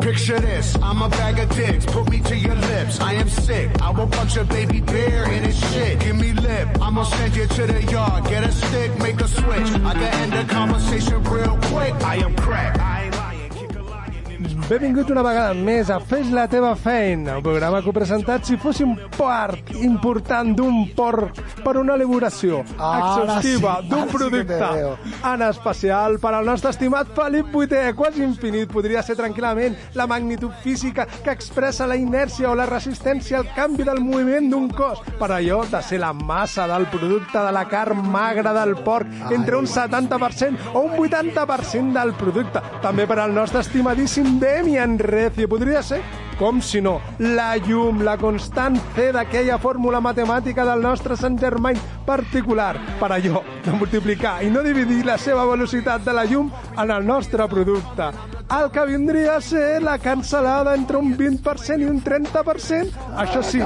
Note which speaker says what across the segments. Speaker 1: Picture this, I'm a bag of dicks. Put me to your lips. I am sick. I will punch a baby bear in his shit. Give me lip. I'm gonna send you to the yard. Get a stick, make a switch. I can end the conversation real quick. I am crack. I ain't lying. Kick a lion in this.
Speaker 2: Benvingut una vegada més a Fes la teva feina, un programa que heu presentat si fóssim part important d'un porc per una elaboració
Speaker 3: Ara
Speaker 2: exhaustiva
Speaker 3: sí,
Speaker 2: d'un
Speaker 3: ara sí que
Speaker 2: producte,
Speaker 3: te veo.
Speaker 2: en especial per al nostre estimat Felip VIII, quasi infinit podria ser tranquil·lament la magnitud física que expressa la inèrcia o la resistència al canvi del moviment d'un cos, per allò de ser la massa del producte de la carn magra del porc entre un 70% o un 80% del producte. També per al nostre estimadíssim Demian Recio. Podria ser, com si no, la llum, la constant C d'aquella fórmula matemàtica del nostre Sant Germain particular per allò de multiplicar i no dividir la seva velocitat de la llum en el nostre producte. El que vindria a ser la cancel·lada entre un 20% i un 30%, això sí,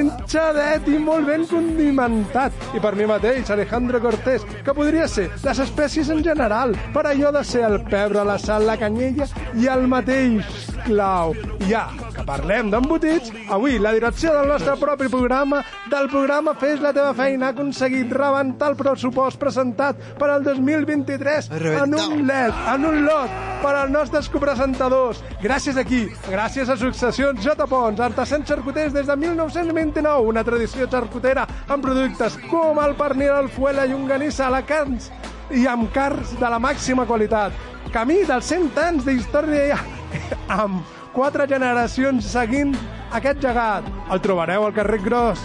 Speaker 2: trinxadet i molt ben condimentat. I per mi mateix, Alejandro Cortés, que podria ser les espècies en general, per allò de ser el pebre, la sal, la canyella i el mateix clau. I Ja, que parlem d'embotits, avui la direcció del nostre propi programa, del programa Fes la teva feina, ha aconseguit rebentar el pressupost presentat per al 2023 en un LED, en un lot, per als nostres copresentadors. Gràcies aquí, gràcies a Successions J. Pons, artesans xarcuters des de 1929, una tradició xarcutera amb productes com el pernil, el fuel, la llonganissa, la carns i amb carns de la màxima qualitat. Camí dels 100 anys d'història amb quatre generacions seguint aquest gegat. El trobareu al carrer Gros,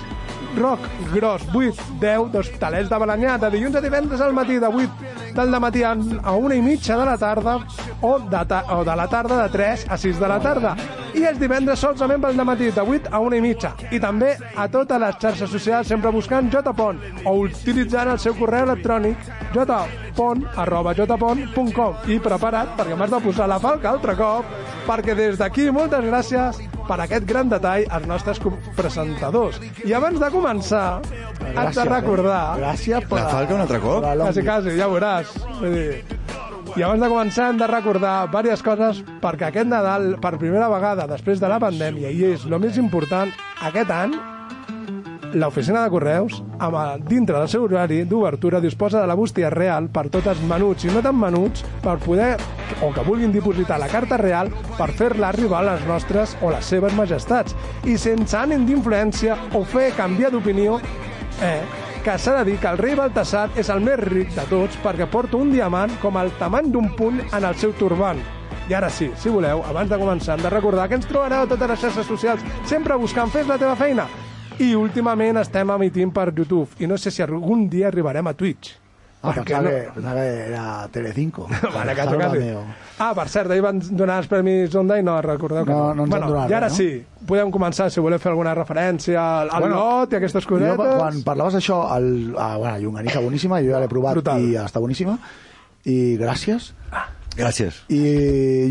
Speaker 2: Roc, Gros, 8, 10, d'Hospitalets de Balanyà, de dilluns a divendres al matí, de 8 del dematí a a una i mitja de la tarda o de, ta o de la tarda de 3 a 6 de la tarda. I els divendres solament pel dematí, de 8 a una i mitja. I també a totes les xarxes socials, sempre buscant jpont o utilitzant el seu correu electrònic jpont arroba jpont.com i preparat perquè m'has de posar la falca altre cop perquè des d'aquí moltes gràcies per aquest gran detall als nostres co- presentadors. I abans de començar, haig de
Speaker 3: eh?
Speaker 2: recordar...
Speaker 3: Gràcies per...
Speaker 4: La falca un altre cop?
Speaker 3: per la
Speaker 2: Quasi,
Speaker 3: longa.
Speaker 2: quasi, ja ho veuràs. Vull dir, I abans de començar hem de recordar diverses coses perquè aquest Nadal, per primera vegada després de la pandèmia, i és el més important, aquest any l'oficina de correus, amb el, dintre del seu horari d'obertura, disposa de la bústia real per tots els menuts i no tan menuts per poder, o que vulguin dipositar la carta real per fer-la arribar a les nostres o les seves majestats i sense ànim d'influència o fer canviar d'opinió eh, que s'ha de dir que el rei Baltasar és el més ric de tots perquè porta un diamant com el tamany d'un puny en el seu turbant. I ara sí, si voleu, abans de començar, hem de recordar que ens trobareu a totes les xarxes socials, sempre buscant Fes la teva feina. I últimament estem emitint per YouTube, i no sé si algun dia arribarem a Twitch.
Speaker 3: Ah,
Speaker 2: Perquè
Speaker 3: pensava que, pensava que era Telecinco.
Speaker 2: Vale, que
Speaker 3: Sálvame,
Speaker 2: tocat.
Speaker 3: o-
Speaker 2: Ah, per cert, ahir van donar els premis Onda i no recordeu que...
Speaker 3: No, no ens
Speaker 2: bueno,
Speaker 3: han donat
Speaker 2: I ara
Speaker 3: res, no?
Speaker 2: sí, podem començar, si voleu fer alguna referència al, al
Speaker 3: Bueno,
Speaker 2: bueno, lot i aquestes cosetes...
Speaker 3: Jo, quan parlaves d'això, el... ah, bueno, llonganissa boníssima, jo ja l'he provat
Speaker 2: Brutal.
Speaker 3: i està boníssima. I gràcies.
Speaker 4: Gràcies.
Speaker 3: I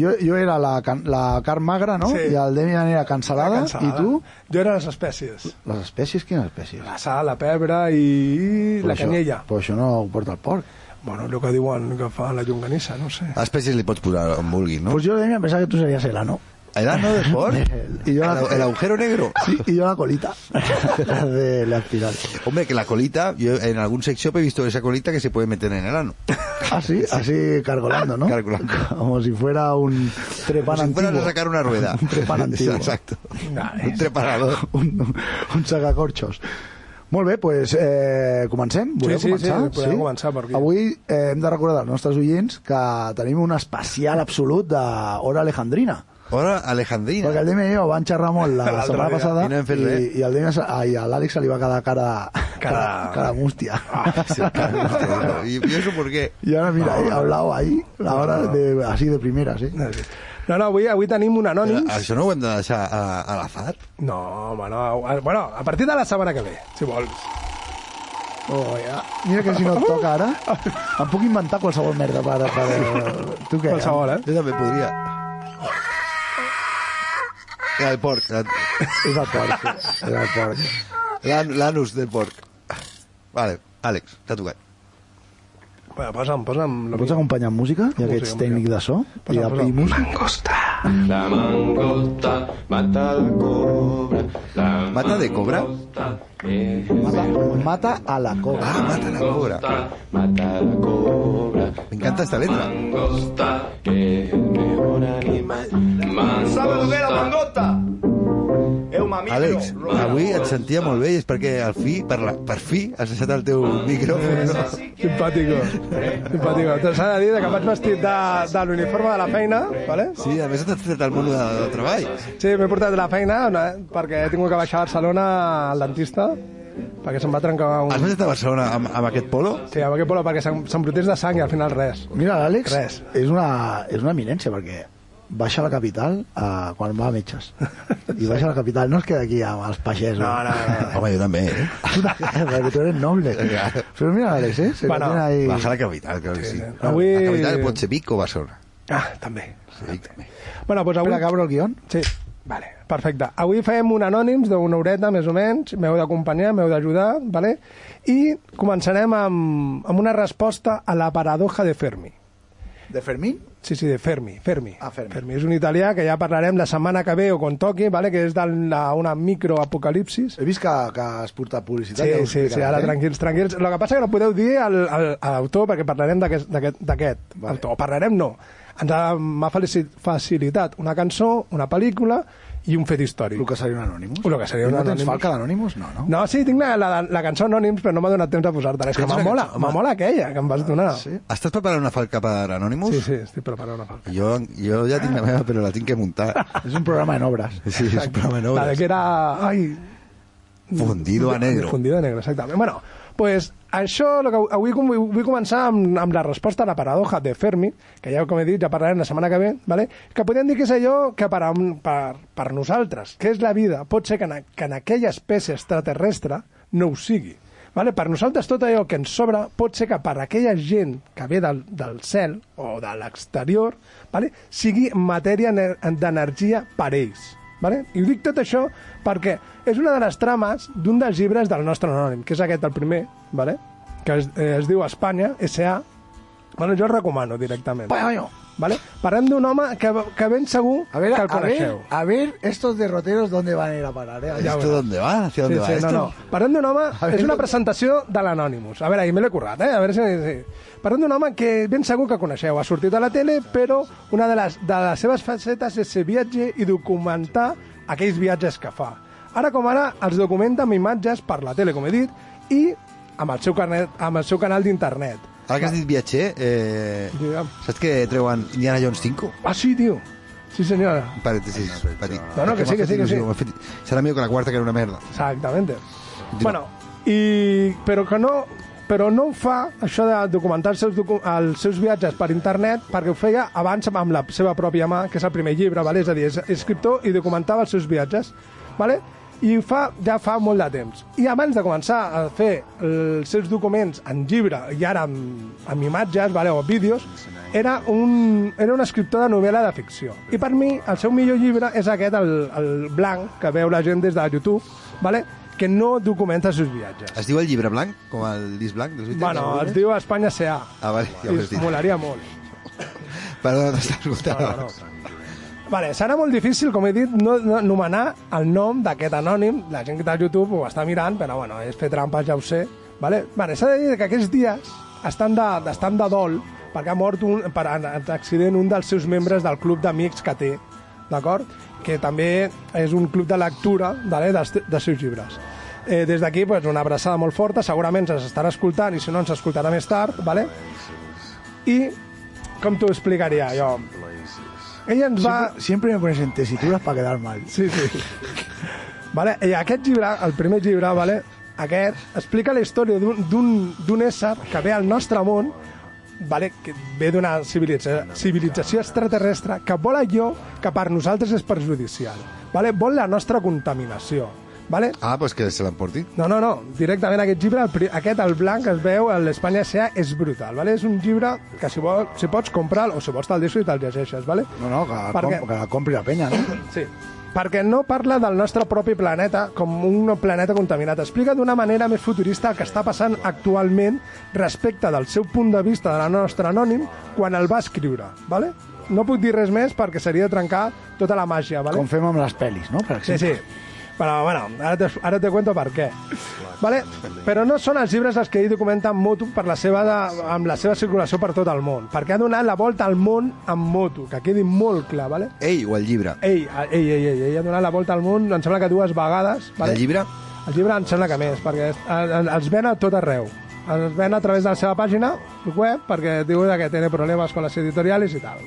Speaker 3: jo, jo era la, can, la carn magra, no?
Speaker 2: Sí.
Speaker 3: I el Demian era cancel·lada.
Speaker 2: Cancel·lada.
Speaker 3: I tu?
Speaker 2: Jo era les espècies.
Speaker 3: Les espècies, quines espècies?
Speaker 2: La sal, la pebre i la
Speaker 3: això,
Speaker 2: canyella.
Speaker 3: Però això no ho porta el porc.
Speaker 2: Bueno, el que diuen que fa la llonganissa, no ho sé.
Speaker 4: Espècies li pots posar on vulguis,
Speaker 3: No?
Speaker 4: no? ah,
Speaker 3: Pues jo, Demian, pensava que tu series el ano.
Speaker 4: El ano de por,
Speaker 3: Y
Speaker 4: el,
Speaker 3: yo la-
Speaker 4: el agujero negro.
Speaker 3: Sí, y yo la colita. la de la espiral.
Speaker 4: Hombre, que la colita, yo en algún sex shop he visto esa colita que se puede meter en el ano.
Speaker 3: Así, así cargolando, ¿no?
Speaker 4: Cargolando.
Speaker 3: Como si fuera un trepan
Speaker 4: Como si fueran
Speaker 3: antiguo.
Speaker 4: a sacar una rueda.
Speaker 3: un trepan antiguo.
Speaker 4: Exacto.
Speaker 2: Vale.
Speaker 4: Un treparador.
Speaker 3: un, un sacacorxos. Molt bé, doncs eh, comencem? Voleu
Speaker 2: Sí, sí, sí,
Speaker 3: començar?
Speaker 2: podem començar per aquí.
Speaker 3: Avui eh, hem de recordar als nostres oients que tenim un especial absolut de Hora Alejandrina.
Speaker 4: Hola, Alejandrina.
Speaker 3: Perquè el Demi i jo van xerrar molt la, la
Speaker 2: L'altre
Speaker 3: setmana
Speaker 2: dia,
Speaker 3: passada
Speaker 4: i no hem fet
Speaker 3: i,
Speaker 4: res.
Speaker 3: i, el Demi, se- ai, a l'Àlex se li va quedar cara, cara,
Speaker 2: Cara- Ah,
Speaker 3: cara mústia.
Speaker 4: Sí, claro. y, y eso por qué.
Speaker 3: Y ahora mira, he hablado ahí, la hora de, así de primeras, ¿eh?
Speaker 2: No, no, avui, avui tenim un
Speaker 4: Però
Speaker 2: anònim.
Speaker 4: això no ho hem de deixar a,
Speaker 3: eh,
Speaker 4: a l'azar?
Speaker 2: No, home, no. Ah, Bueno, a partir de la setmana que ve, si vols.
Speaker 3: Oh, ja. Mira que si no et toca ara, em puc inventar qualsevol merda per... per... Tu què?
Speaker 2: Qualsevol, eh?
Speaker 4: Jo també podria. Era el porc. la-
Speaker 3: És el porc, és el porc.
Speaker 4: l'an- L'anus del porc. Vale, Àlex, t'ha tocat.
Speaker 2: Bueno, posa'm, posa'm...
Speaker 3: La pots acompanyar amb música, ja que ets
Speaker 2: Música,
Speaker 3: tècnic de so? I,
Speaker 2: Posa, posa.
Speaker 3: i música?
Speaker 5: La mangosta mata la cobra. La
Speaker 4: Mata de cobra?
Speaker 5: mangosta es
Speaker 3: Mata, mata a la cobra.
Speaker 4: Ah, mata la cobra.
Speaker 5: mangosta, Mata la cobra.
Speaker 4: M'encanta esta letra.
Speaker 5: Mangosta es el mejor animal. Mangosta.
Speaker 6: ¿Sabes lo que es la mangosta? Es un mamífero.
Speaker 4: Àlex, avui et sentia molt bé i és perquè al fi, per, la, per fi, has deixat el teu micròfon.
Speaker 2: Simpàtico. Simpàtico. Te S'ha de dir que vaig vestit de, de l'uniforme de la feina, vale?
Speaker 4: Sí, a més t'has tret el mono de, del treball.
Speaker 2: Sí, m'he portat de la feina una, perquè he tingut que baixar a Barcelona al dentista perquè se'm va trencar
Speaker 4: Has
Speaker 2: un...
Speaker 4: baixat a Barcelona amb, amb aquest polo?
Speaker 2: Sí, amb aquest polo, perquè se'm, se'm brotés de sang i al final res.
Speaker 3: Mira, l'Àlex
Speaker 2: Ah, Res.
Speaker 3: és una, és una eminència, perquè baixa a la capital eh, quan va a metges. I baixa a la capital, no es queda aquí amb els pagesos.
Speaker 4: Home, jo també, eh?
Speaker 3: perquè tu eres noble. Però mira l'Àlex, eh? Se
Speaker 2: Bueno,
Speaker 3: bueno, ahí...
Speaker 4: Baja la capital, clar que sí.
Speaker 2: Avui-
Speaker 4: La capital pot ser Vic o Barcelona.
Speaker 2: Ah, també.
Speaker 4: Sí, Vic també.
Speaker 2: Bueno, doncs avui...
Speaker 3: Espera, que abro el guión.
Speaker 2: Sí, vale, perfecte. Avui fem un anònims d'una horeta, més o menys. M'heu d'acompanyar, m'heu d'ajudar, vale? I començarem amb, amb una resposta a la paradoja de Fermi.
Speaker 3: De Fermín?
Speaker 2: Sí, sí, de Fermi, Fermi.
Speaker 3: Ah, Fermi.
Speaker 2: Fermi és un italià que ja parlarem la setmana que ve o quan toqui, vale? que és d'una microapocalipsis.
Speaker 3: He vist que, que has portat publicitat.
Speaker 2: Sí,
Speaker 3: ja ho
Speaker 2: sí, sí,
Speaker 3: explicaràs,
Speaker 2: ara
Speaker 3: eh?
Speaker 2: tranquils, tranquils. El que passa que no podeu dir al, al, a l'autor perquè parlarem d'aquest vale.
Speaker 3: Vale.
Speaker 2: autor. O parlarem, no. Ens ha- m'ha felici- facilitat una cançó, una pel·lícula i un fet històric.
Speaker 3: El que seria un Anonymous.
Speaker 2: Lo que seria
Speaker 3: I
Speaker 2: un
Speaker 3: no tens
Speaker 2: Anonymous.
Speaker 3: falca d'Anonymous? No, no.
Speaker 2: No, sí, tinc la, la, la cançó Anònims, però no m'ha donat temps de posar-te-la. És
Speaker 3: Ah,
Speaker 2: que
Speaker 4: Tens una
Speaker 2: m'amola,
Speaker 4: cançó, home.
Speaker 2: m'amola aquella que em vas donar.
Speaker 3: sí?
Speaker 4: Estàs preparant una falca per Anonymous?
Speaker 2: Sí, sí, estic preparant una falca.
Speaker 4: Jo, jo ja tinc la meva, però la tinc que muntar.
Speaker 3: És un programa en obres.
Speaker 4: Sí, és un programa en
Speaker 2: La de
Speaker 4: obres.
Speaker 2: que era... Ai,
Speaker 4: Fundido a negro.
Speaker 2: Fundido a negro, exactament. Bueno, pues això, lo que avui com- vull començar amb, amb la resposta a la paradoja de Fermi, que ja, com he dit, ja parlarem la setmana que ve, ¿vale? que podem dir que és allò que per, a un- per, per nosaltres, que és la vida, pot ser que en, a- que en aquella espècie extraterrestre no ho sigui. Vale? Per nosaltres tot allò que ens sobra pot ser que per aquella gent que ve del, del cel o de l'exterior vale? sigui matèria ener- d'energia per ells. Vale? I ho dic tot això perquè és una de les trames d'un dels llibres del nostre anònim, que és aquest, el primer, vale? que es, eh, es diu Espanya, S.A. Bueno, jo el recomano directament.
Speaker 3: Bueno,
Speaker 2: Vale? Parlem d'un home que, que ben segur
Speaker 3: a ver,
Speaker 2: que el
Speaker 3: a ver,
Speaker 2: coneixeu.
Speaker 3: a ver estos derroteros dónde van a ir a parar, eh?
Speaker 4: ¿Esto dónde va? ¿Hacia dónde va
Speaker 2: sí, sí,
Speaker 4: esto?
Speaker 2: no, no. Parlem d'un home...
Speaker 3: A
Speaker 2: És
Speaker 3: veure-
Speaker 2: una presentació de l'Anonymous. A veure, ahir me l'he currat, eh? A veure si... si... Parlem d'un home que ben segur que coneixeu. Ha sortit a la tele, però una de les, de les seves facetes és ser viatge i documentar aquells viatges que fa. Ara com ara, els documenta amb imatges per la tele, com he dit, i amb el seu, carnet, amb el seu canal d'internet.
Speaker 4: Ara que has dit viatger, eh,
Speaker 2: Digue'm.
Speaker 4: saps que treuen Indiana Jones 5?
Speaker 2: Ah, sí, tio. Sí, senyora.
Speaker 4: Parèntesis, petit.
Speaker 2: No, no, que
Speaker 4: m'ha
Speaker 2: sí, que sí,
Speaker 4: fet
Speaker 2: que
Speaker 4: il·lusió,
Speaker 2: sí.
Speaker 4: m'ha fet- Serà millor que la quarta, que era una merda.
Speaker 2: Exactamente. Bueno, i, però que no però no ho fa, això de documentar els seus, docu els seus viatges per internet, perquè ho feia abans amb la seva pròpia mà, que és el primer llibre, vale? és a dir, és escriptor i documentava els seus viatges. Vale? I ho fa ja fa molt de temps. I abans de començar a fer els seus documents en llibre i ara amb, amb imatges vale? o vídeos, era un, era un escriptor de novel·la de ficció. I per mi, el seu millor llibre és aquest, el, el blanc, que veu la gent des de YouTube, vale? que no documenta els seus viatges.
Speaker 4: Es diu el llibre blanc, com el disc blanc? dels 80?
Speaker 2: Bueno, es diu Espanya S.A.
Speaker 4: eh? Ah, vale, ja ho
Speaker 2: I
Speaker 4: has dit.
Speaker 2: molaria molt.
Speaker 4: Perdona, t'estàs escoltant.
Speaker 2: No, no, Vale, serà molt difícil, com he dit, no, no nomenar el nom d'aquest anònim. La gent que està a YouTube ho està mirant, però bueno, és fer trampes, ja ho sé. Vale? Vale, S'ha de dir que aquests dies estan de, estan de dol perquè ha mort un, per an- accident un dels seus membres del club d'amics que té, d'acord? Que també és un club de lectura vale? dels, te- dels seus llibres. Eh, des d'aquí, pues, una abraçada molt forta, segurament ens estarà escoltant i si no ens escoltarà més tard, vale? i com t'ho explicaria jo? Ella ens va...
Speaker 3: Siempre, siempre me pones en tesituras para quedar mal.
Speaker 2: Sí, sí. Vale, i aquest llibre, el primer llibre, vale, aquest, explica la història d'un- d'un d'un ésser que ve al nostre món, vale, que ve d'una civilitza, civilització extraterrestre que vol allò que per nosaltres és perjudicial. Vale? Vol la nostra contaminació. Vale?
Speaker 4: Ah, doncs que se l'emporti.
Speaker 2: No, no, no. Directament aquest llibre, el, pri- aquest, el blanc, es veu a l'Espanya S.A. és brutal, vale? És un llibre que si, vol, si pots comprar o si vols te'l deixo i te'l llegeixes, vale?
Speaker 3: No, no, que, la
Speaker 2: Perquè-
Speaker 3: com- que la compri la penya, no?
Speaker 2: Sí. Perquè no parla del nostre propi planeta com un planeta contaminat. Explica d'una manera més futurista el que està passant actualment respecte del seu punt de vista de la nostra anònim quan el va escriure, ¿vale? No puc dir res més perquè seria trencar tota la màgia, ¿vale?
Speaker 3: Com fem amb les pel·lis, no? Per
Speaker 2: Sí,
Speaker 3: exemple.
Speaker 2: sí. Però, bueno, ara te, ara te cuento per què. Vale? Però no són els llibres els que ell documenta en moto per la seva de, amb la seva circulació per tot el món, perquè ha donat la volta al món amb moto, que quedi molt clar, ¿vale?
Speaker 4: Ell o el llibre.
Speaker 2: Ei, ei, ei, ei, ell ha donat la volta al món, em sembla que dues vegades.
Speaker 4: El llibre?
Speaker 2: El llibre em sembla que més, perquè es- el- els ven a tot arreu. Els ven a través de la seva pàgina web, perquè diu que té problemes con les editoriales i tal.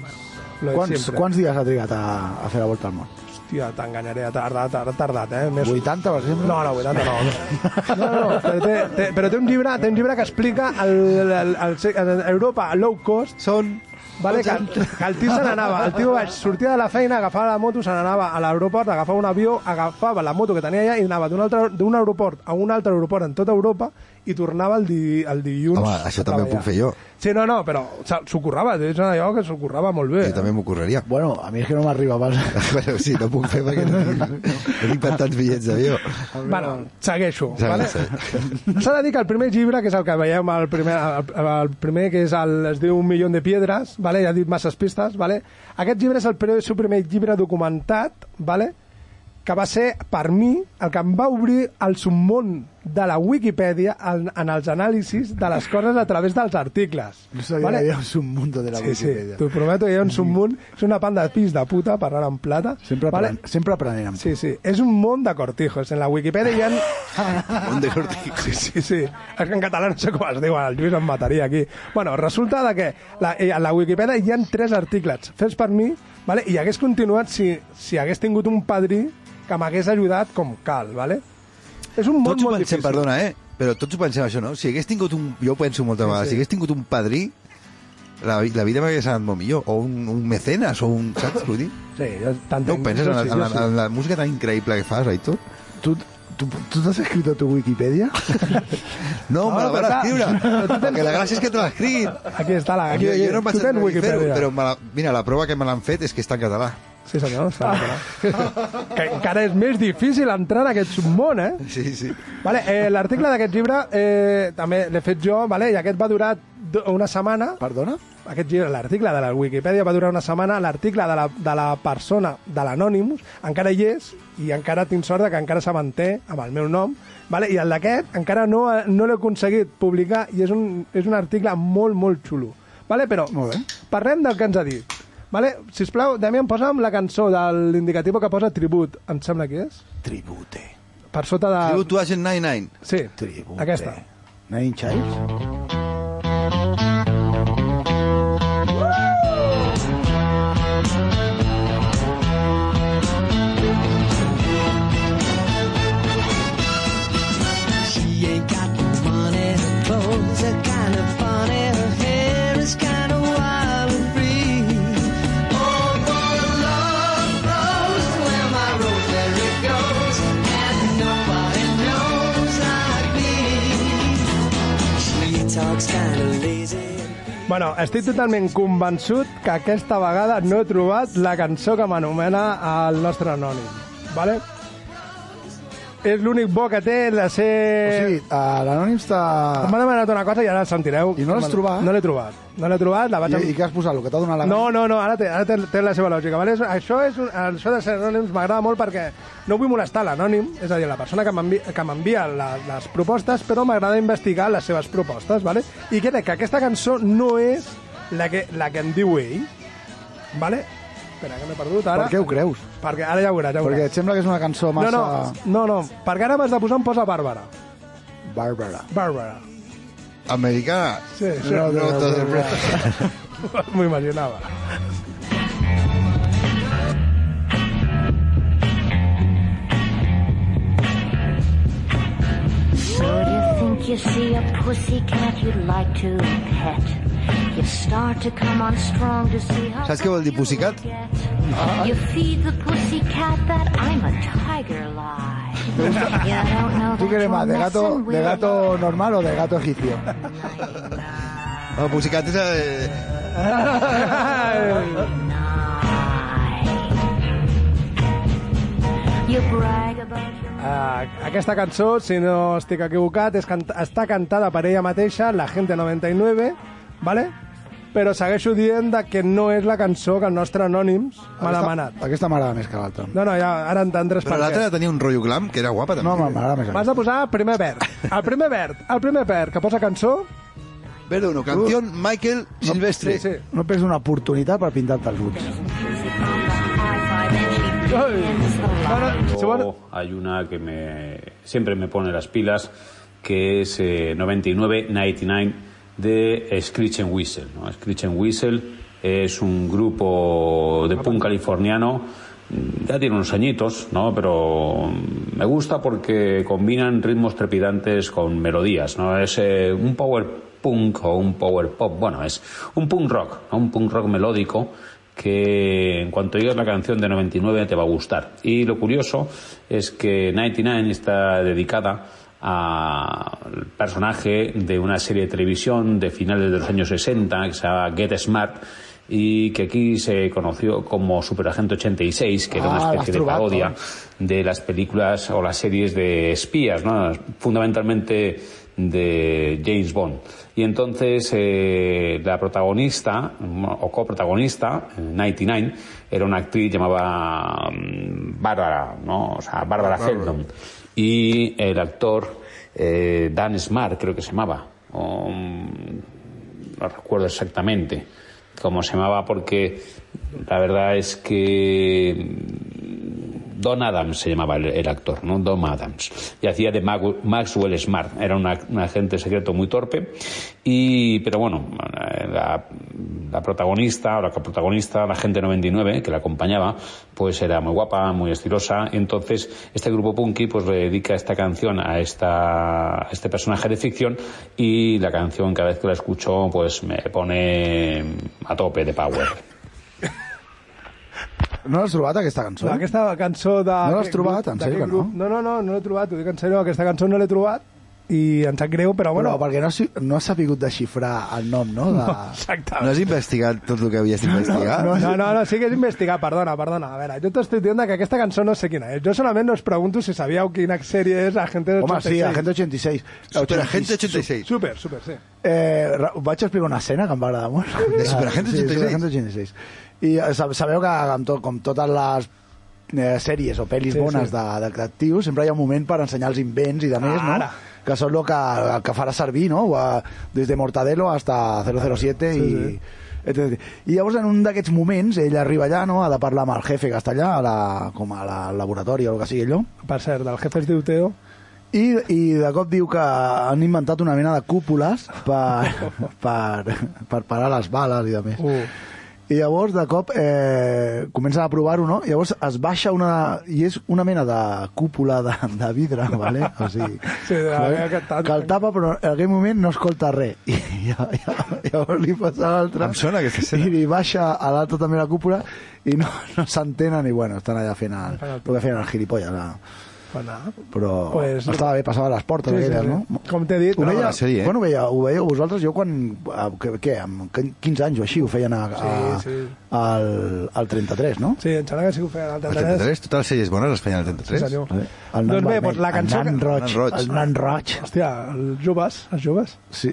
Speaker 2: Lo de
Speaker 3: Quants,
Speaker 2: Pues siempre.
Speaker 3: quants dies ha trigat a, a fer la volta al món?
Speaker 2: Hòstia, t'enganyaré, ha tardat, ha tardat, eh? Més...
Speaker 3: 80, per exemple?
Speaker 2: No, no, 80 no. No, no, no però, té, té, però té un llibre, té un llibre que explica el, el, el, el Europa low cost
Speaker 4: Són...
Speaker 2: Vale, que,
Speaker 4: Doncs
Speaker 2: que el tio se n'anava, el tio vaig, sortia de la feina, agafava la moto, se n'anava a l'aeroport, agafava un avió, agafava la moto que tenia allà i anava d'un altre- d'un aeroport a un altre aeroport en tota Europa i tornava el, di, el dilluns.
Speaker 4: Home, això
Speaker 2: a
Speaker 4: també ho
Speaker 2: treballar.
Speaker 4: puc fer jo.
Speaker 2: Sí, no, no, però se- s'ho currava, és una allò que s'ho currava molt bé.
Speaker 4: Jo també m'ho correria.
Speaker 3: Bueno, a mi és que no m'arriba pas.
Speaker 4: Però sí, no puc fer perquè no tinc, no tinc per tants bitllets d'avió.
Speaker 2: Bueno, segueixo.
Speaker 4: Segueix,
Speaker 2: Vale? S'ha de dir que el primer llibre, que és el que veiem, el primer, el, el primer que és el, es diu Un milió de piedres, vale? ja he dit masses pistes, vale? aquest llibre és el pre- seu primer llibre documentat, vale? que va ser, per mi, el que em va obrir el submón de la Wikipedia en, en els anàlisis de les coses a través dels articles.
Speaker 3: No sabia que hi havia un submundo de la
Speaker 2: Sí, sí,
Speaker 3: Wikipedia.
Speaker 2: t'ho prometo, hi ha un submunt, és una panda de pis de puta, parlant en plata.
Speaker 3: Sempre,
Speaker 2: vale?
Speaker 3: aprenent, sempre aprenent amb tu.
Speaker 2: Sí, sí, és un món de cortijos. En la Wikipedia hi ha
Speaker 4: Un de cortijo.
Speaker 2: Sí, sí, sí. És que en català no sé com es diuen, el Lluís em mataria aquí. Bueno, resulta de que la, eh, a la Wikipedia hi han tres articles fets per mi, vale? i hagués continuat si, si hagués tingut un padrí que m'hagués ajudat com cal, vale? És un món
Speaker 4: Tots ho
Speaker 2: molt difícil.
Speaker 4: pensem, perdona, eh? Però tots ho pensem, això, no? Si hagués tingut un... Jo ho penso molta vegada. Si hagués tingut un padrí, la, vi- la vida m'hagués anat molt millor. O un, un mecenes, o un... Saps què vull dir?
Speaker 2: Sí, jo t'entenc.
Speaker 4: No ho penses
Speaker 2: Jo
Speaker 4: en la,
Speaker 2: sí,
Speaker 4: en la,
Speaker 2: jo sí.
Speaker 4: en la música tan increïble que fas, Aitor?
Speaker 3: Tu, tu, tu t'has escrit a tu Wikipedia?
Speaker 2: No,
Speaker 4: No, me la van
Speaker 2: però clar,
Speaker 4: escriure. Perquè la gràcia és que te l'ha escrit.
Speaker 2: Aquí està la... Aquí,
Speaker 4: Jo, jo no em vaig
Speaker 2: tu tens
Speaker 4: atrever a fer-ho,
Speaker 2: Wikipedia.
Speaker 4: però me la, mira, la prova que me l'han fet és que està en català.
Speaker 2: Sí, senyor. està clar. que encara és més difícil entrar en aquest submón, eh?
Speaker 4: Sí, sí.
Speaker 2: Vale, eh, L'article d'aquest llibre eh, també l'he fet jo, vale, i aquest va durar do- una setmana.
Speaker 3: Perdona?
Speaker 2: Aquest llibre, l'article de la Wikipedia va durar una setmana, l'article de, la, de la persona de l'Anonymous encara hi és i encara tinc sort de que encara se manté amb el meu nom, vale? i el d'aquest encara no, no l'he aconseguit publicar i és un, és un article molt, molt xulo. Vale? Però
Speaker 3: Molt bé.
Speaker 2: parlem del que ens ha dit. Vale? Sisplau, Damián, posa'm la cançó de l'indicativo que posa tribut, em sembla que és,
Speaker 3: Tribute.
Speaker 2: per sota de...
Speaker 4: Tribute to Agent 99.
Speaker 2: Sí,
Speaker 3: Tribute.
Speaker 2: aquesta.
Speaker 3: Nine Childs?
Speaker 7: She ain't got no money, her clothes are kinda funny, her hair is kinda wild and free. Oh, for a love rose, where my rosemary goes, and nobody knows like me. She talks kinda lazy.
Speaker 2: Bueno, estic totalment convençut que aquesta vegada no he trobat la cançó que m'anomena el nostre anònim, vale? És l'únic bo que té la ser...
Speaker 3: O sigui, a l'anònim està...
Speaker 2: M'ha demanat una cosa i ara la sentireu.
Speaker 3: I no l'has trobat?
Speaker 2: No l'he trobat. No l'he trobat, la vaig...
Speaker 3: I, I què has posat? El que t'ha donat la...
Speaker 2: No, no, no, ara té, ara té, té la seva lògica. Vale? És- Això, és, un- això de ser anònims m'agrada molt perquè no vull molestar l'anònim, és a dir, la persona que m'envi- que m'envia la, les propostes, però m'agrada investigar les seves propostes, vale? i crec que aquesta cançó no és la que, la que em diu ell. Vale? Espera, que m'he perdut ara.
Speaker 3: Per què ho creus?
Speaker 2: Perquè ara ja ho veuràs, ja ho
Speaker 3: Perquè
Speaker 2: veuràs.
Speaker 3: et sembla que és una cançó
Speaker 2: No,
Speaker 3: massa...
Speaker 2: no, no, no, perquè ara m'has de posar em posa Bàrbara.
Speaker 3: Bàrbara.
Speaker 2: Bàrbara.
Speaker 4: Americana.
Speaker 2: Sí, sí.
Speaker 4: No, no, no, no, no.
Speaker 2: M'ho imaginava.
Speaker 8: you see a pussycat you'd like to pet. You start to come on strong to see how
Speaker 4: Saps què vol dir pussycat?
Speaker 8: get. You feed the pussycat that I'm a tiger lie. You don't know
Speaker 3: ¿Tú
Speaker 8: that
Speaker 3: quieres
Speaker 8: you're
Speaker 3: más? ¿De gato,
Speaker 8: messing with
Speaker 3: ¿De gato normal o de gato egipcio?
Speaker 4: El musicat és... Eh,
Speaker 8: night. You brag about your
Speaker 2: Ah, aquesta cançó, si no estic equivocat, és cant està cantada per ella mateixa, la Gente 99, ¿vale? però segueixo dient de que no és la cançó que el nostre Anònims m'ha demanat.
Speaker 3: Aquesta m'agrada més que l'altra.
Speaker 2: No, no, ja, ara entendràs
Speaker 4: però
Speaker 2: per
Speaker 4: l'altra
Speaker 2: què.
Speaker 4: tenia un rotllo glam, que era guapa, també.
Speaker 3: No, m'agrada més.
Speaker 2: M'has
Speaker 3: aquesta.
Speaker 2: de posar primer verd. El primer verd, el primer verd que posa cançó...
Speaker 4: Verduno, canción Michael Silvestre.
Speaker 2: Sí, sí.
Speaker 3: Uh. No perds una oportunitat per pintar-te els ulls.
Speaker 2: Ai. No, no, si
Speaker 9: Oh.
Speaker 2: vol...
Speaker 9: Hay una que me siempre me pone las pilas, que es eh, 9999 de Screech and Whistle. ¿no? Screech and Whistle es un grupo de punk californiano, mm, ya tiene unos añitos, ¿no? pero mm, me gusta porque combinan ritmos trepidantes con melodías. ¿no? Es eh, un power punk o un power pop, bueno, es un punk rock, ¿no? un punk rock melódico que en cuanto oigas la canción de 99 te va a gustar. Y lo curioso es que 99 está dedicada al personaje de una serie de televisión de finales de los años 60 que se llama Get Smart y que aquí se conoció como Superagente 86, que era
Speaker 3: Ah,
Speaker 9: una
Speaker 3: l'has
Speaker 9: especie de
Speaker 3: trobat,
Speaker 9: parodia
Speaker 3: oi?
Speaker 9: de las películas o las series de espías, ¿no? fundamentalmente de James Bond. Y entonces eh, la protagonista mm, o coprotagonista, eh, 99, era una actriz llamada mm, Bárbara, ¿no? O sea, Bárbara Feldon. Y el actor eh, Dan Smart, creo que se llamaba. o, mm, no recuerdo exactamente cómo se llamaba porque la verdad es que Don Adams se llamaba el, el actor, ¿no? Don Adams. Y hacía de Mag- Maxwell Smart. Era una- un agente secreto muy torpe. Y, pero bueno, eh, la, la protagonista, o la coprotagonista, la agente 99, que la acompañaba, pues era muy guapa, muy estilosa. Entonces, este grupo punky, pues le dedica esta canción a, esta, a este personaje de ficción. Y la canción, cada vez que la escucho, pues me pone a tope de power.
Speaker 3: No l'has trobat, aquesta cançó?
Speaker 2: Aquesta cançó de...
Speaker 3: No l'has trobat, en
Speaker 2: d'aquest
Speaker 3: sèrio que
Speaker 2: grup- No, no, no, no l'he trobat, ho dic en sèrio, aquesta cançó no l'he trobat i em sap greu, però
Speaker 3: Bueno,
Speaker 2: bueno...
Speaker 3: perquè no, has- no has sabut desxifrar el nom, no? De...
Speaker 4: No
Speaker 2: Exactament.
Speaker 4: has investigat tot el que havies d'investigar?
Speaker 3: no,
Speaker 2: No, no, no, sí que és investigar, perdona, perdona. A veure, jo t'estic dient que aquesta cançó no sé quina és. Jo solament us pregunto si sabíeu quina sèrie és Agente
Speaker 3: Home,
Speaker 2: 86.
Speaker 3: sí, Agente 86.
Speaker 4: Superagente 86.
Speaker 2: Super, super, sí.
Speaker 3: Eh, ra- vaig explicar una escena que em va agradar molt.
Speaker 4: De Superagente
Speaker 3: Sí,
Speaker 4: 86.
Speaker 3: Superagente 86. I eh, sab- sabeu que amb tot, com totes les eh, sèries o pel·lis
Speaker 2: Sí,
Speaker 3: sí, bones
Speaker 2: sí.
Speaker 3: sí. de de detectius, sempre hi ha un moment per ensenyar els invents i de més,
Speaker 2: Ara.
Speaker 3: no? que són el que, el que farà servir, no? O, eh, Des de Mortadelo hasta 007 sí, i...
Speaker 2: sí.
Speaker 3: etc. I llavors, en un d'aquests moments, ell arriba allà, no?, ha de parlar amb el jefe que està allà, a la, com a la, al laboratori o el que sigui allò,
Speaker 2: Per cert, del jefe es diu Teo.
Speaker 3: i, I de cop diu que han inventat una mena de cúpules per, per, per parar les bales i de més.
Speaker 2: Uh.
Speaker 3: I llavors, de cop, eh, comencen a provar-ho, no? Llavors es baixa una... I és una mena de cúpula de, de vidre, vale? O sigui,
Speaker 2: Sí, de-
Speaker 3: vale?
Speaker 2: que tant-
Speaker 3: que el tapa, però en aquell moment no escolta res. I ja, ja, llavors li passa a l'altre...
Speaker 4: Em sona aquesta escena.
Speaker 2: eh?
Speaker 3: I li baixa a l'altre també la cúpula i no, no s'entenen i, bueno, estan allà fent el, el que feien els gilipolles. La,
Speaker 2: Bueno,
Speaker 3: però
Speaker 2: Pues
Speaker 3: pues,
Speaker 2: no.
Speaker 3: estava bé, passava les portes
Speaker 2: Sí, sí,
Speaker 3: aquelles,
Speaker 2: sí.
Speaker 3: no?
Speaker 2: Com t'he dit,
Speaker 3: ho
Speaker 2: no,
Speaker 3: veia,
Speaker 4: la sèrie, eh?
Speaker 3: Bueno, ho veia, ho veieu vosaltres, jo quan... A, que, què, amb 15 anys o així ho feien a, a,
Speaker 2: Sí, sí.
Speaker 3: Al, al 33, no?
Speaker 2: sí, em sembla que sí que ho feien al
Speaker 4: El
Speaker 2: 33.
Speaker 4: 33, totes les sèries bones les feien al
Speaker 2: Sí,
Speaker 4: 33.
Speaker 2: senyor.
Speaker 3: eh? El
Speaker 2: Doncs bé,
Speaker 3: vermell,
Speaker 2: doncs la cançó...
Speaker 3: El nan
Speaker 2: Que...
Speaker 3: roig.
Speaker 4: El nan roig.
Speaker 3: El nan roig.
Speaker 2: Hòstia, els joves, els joves.
Speaker 3: Sí.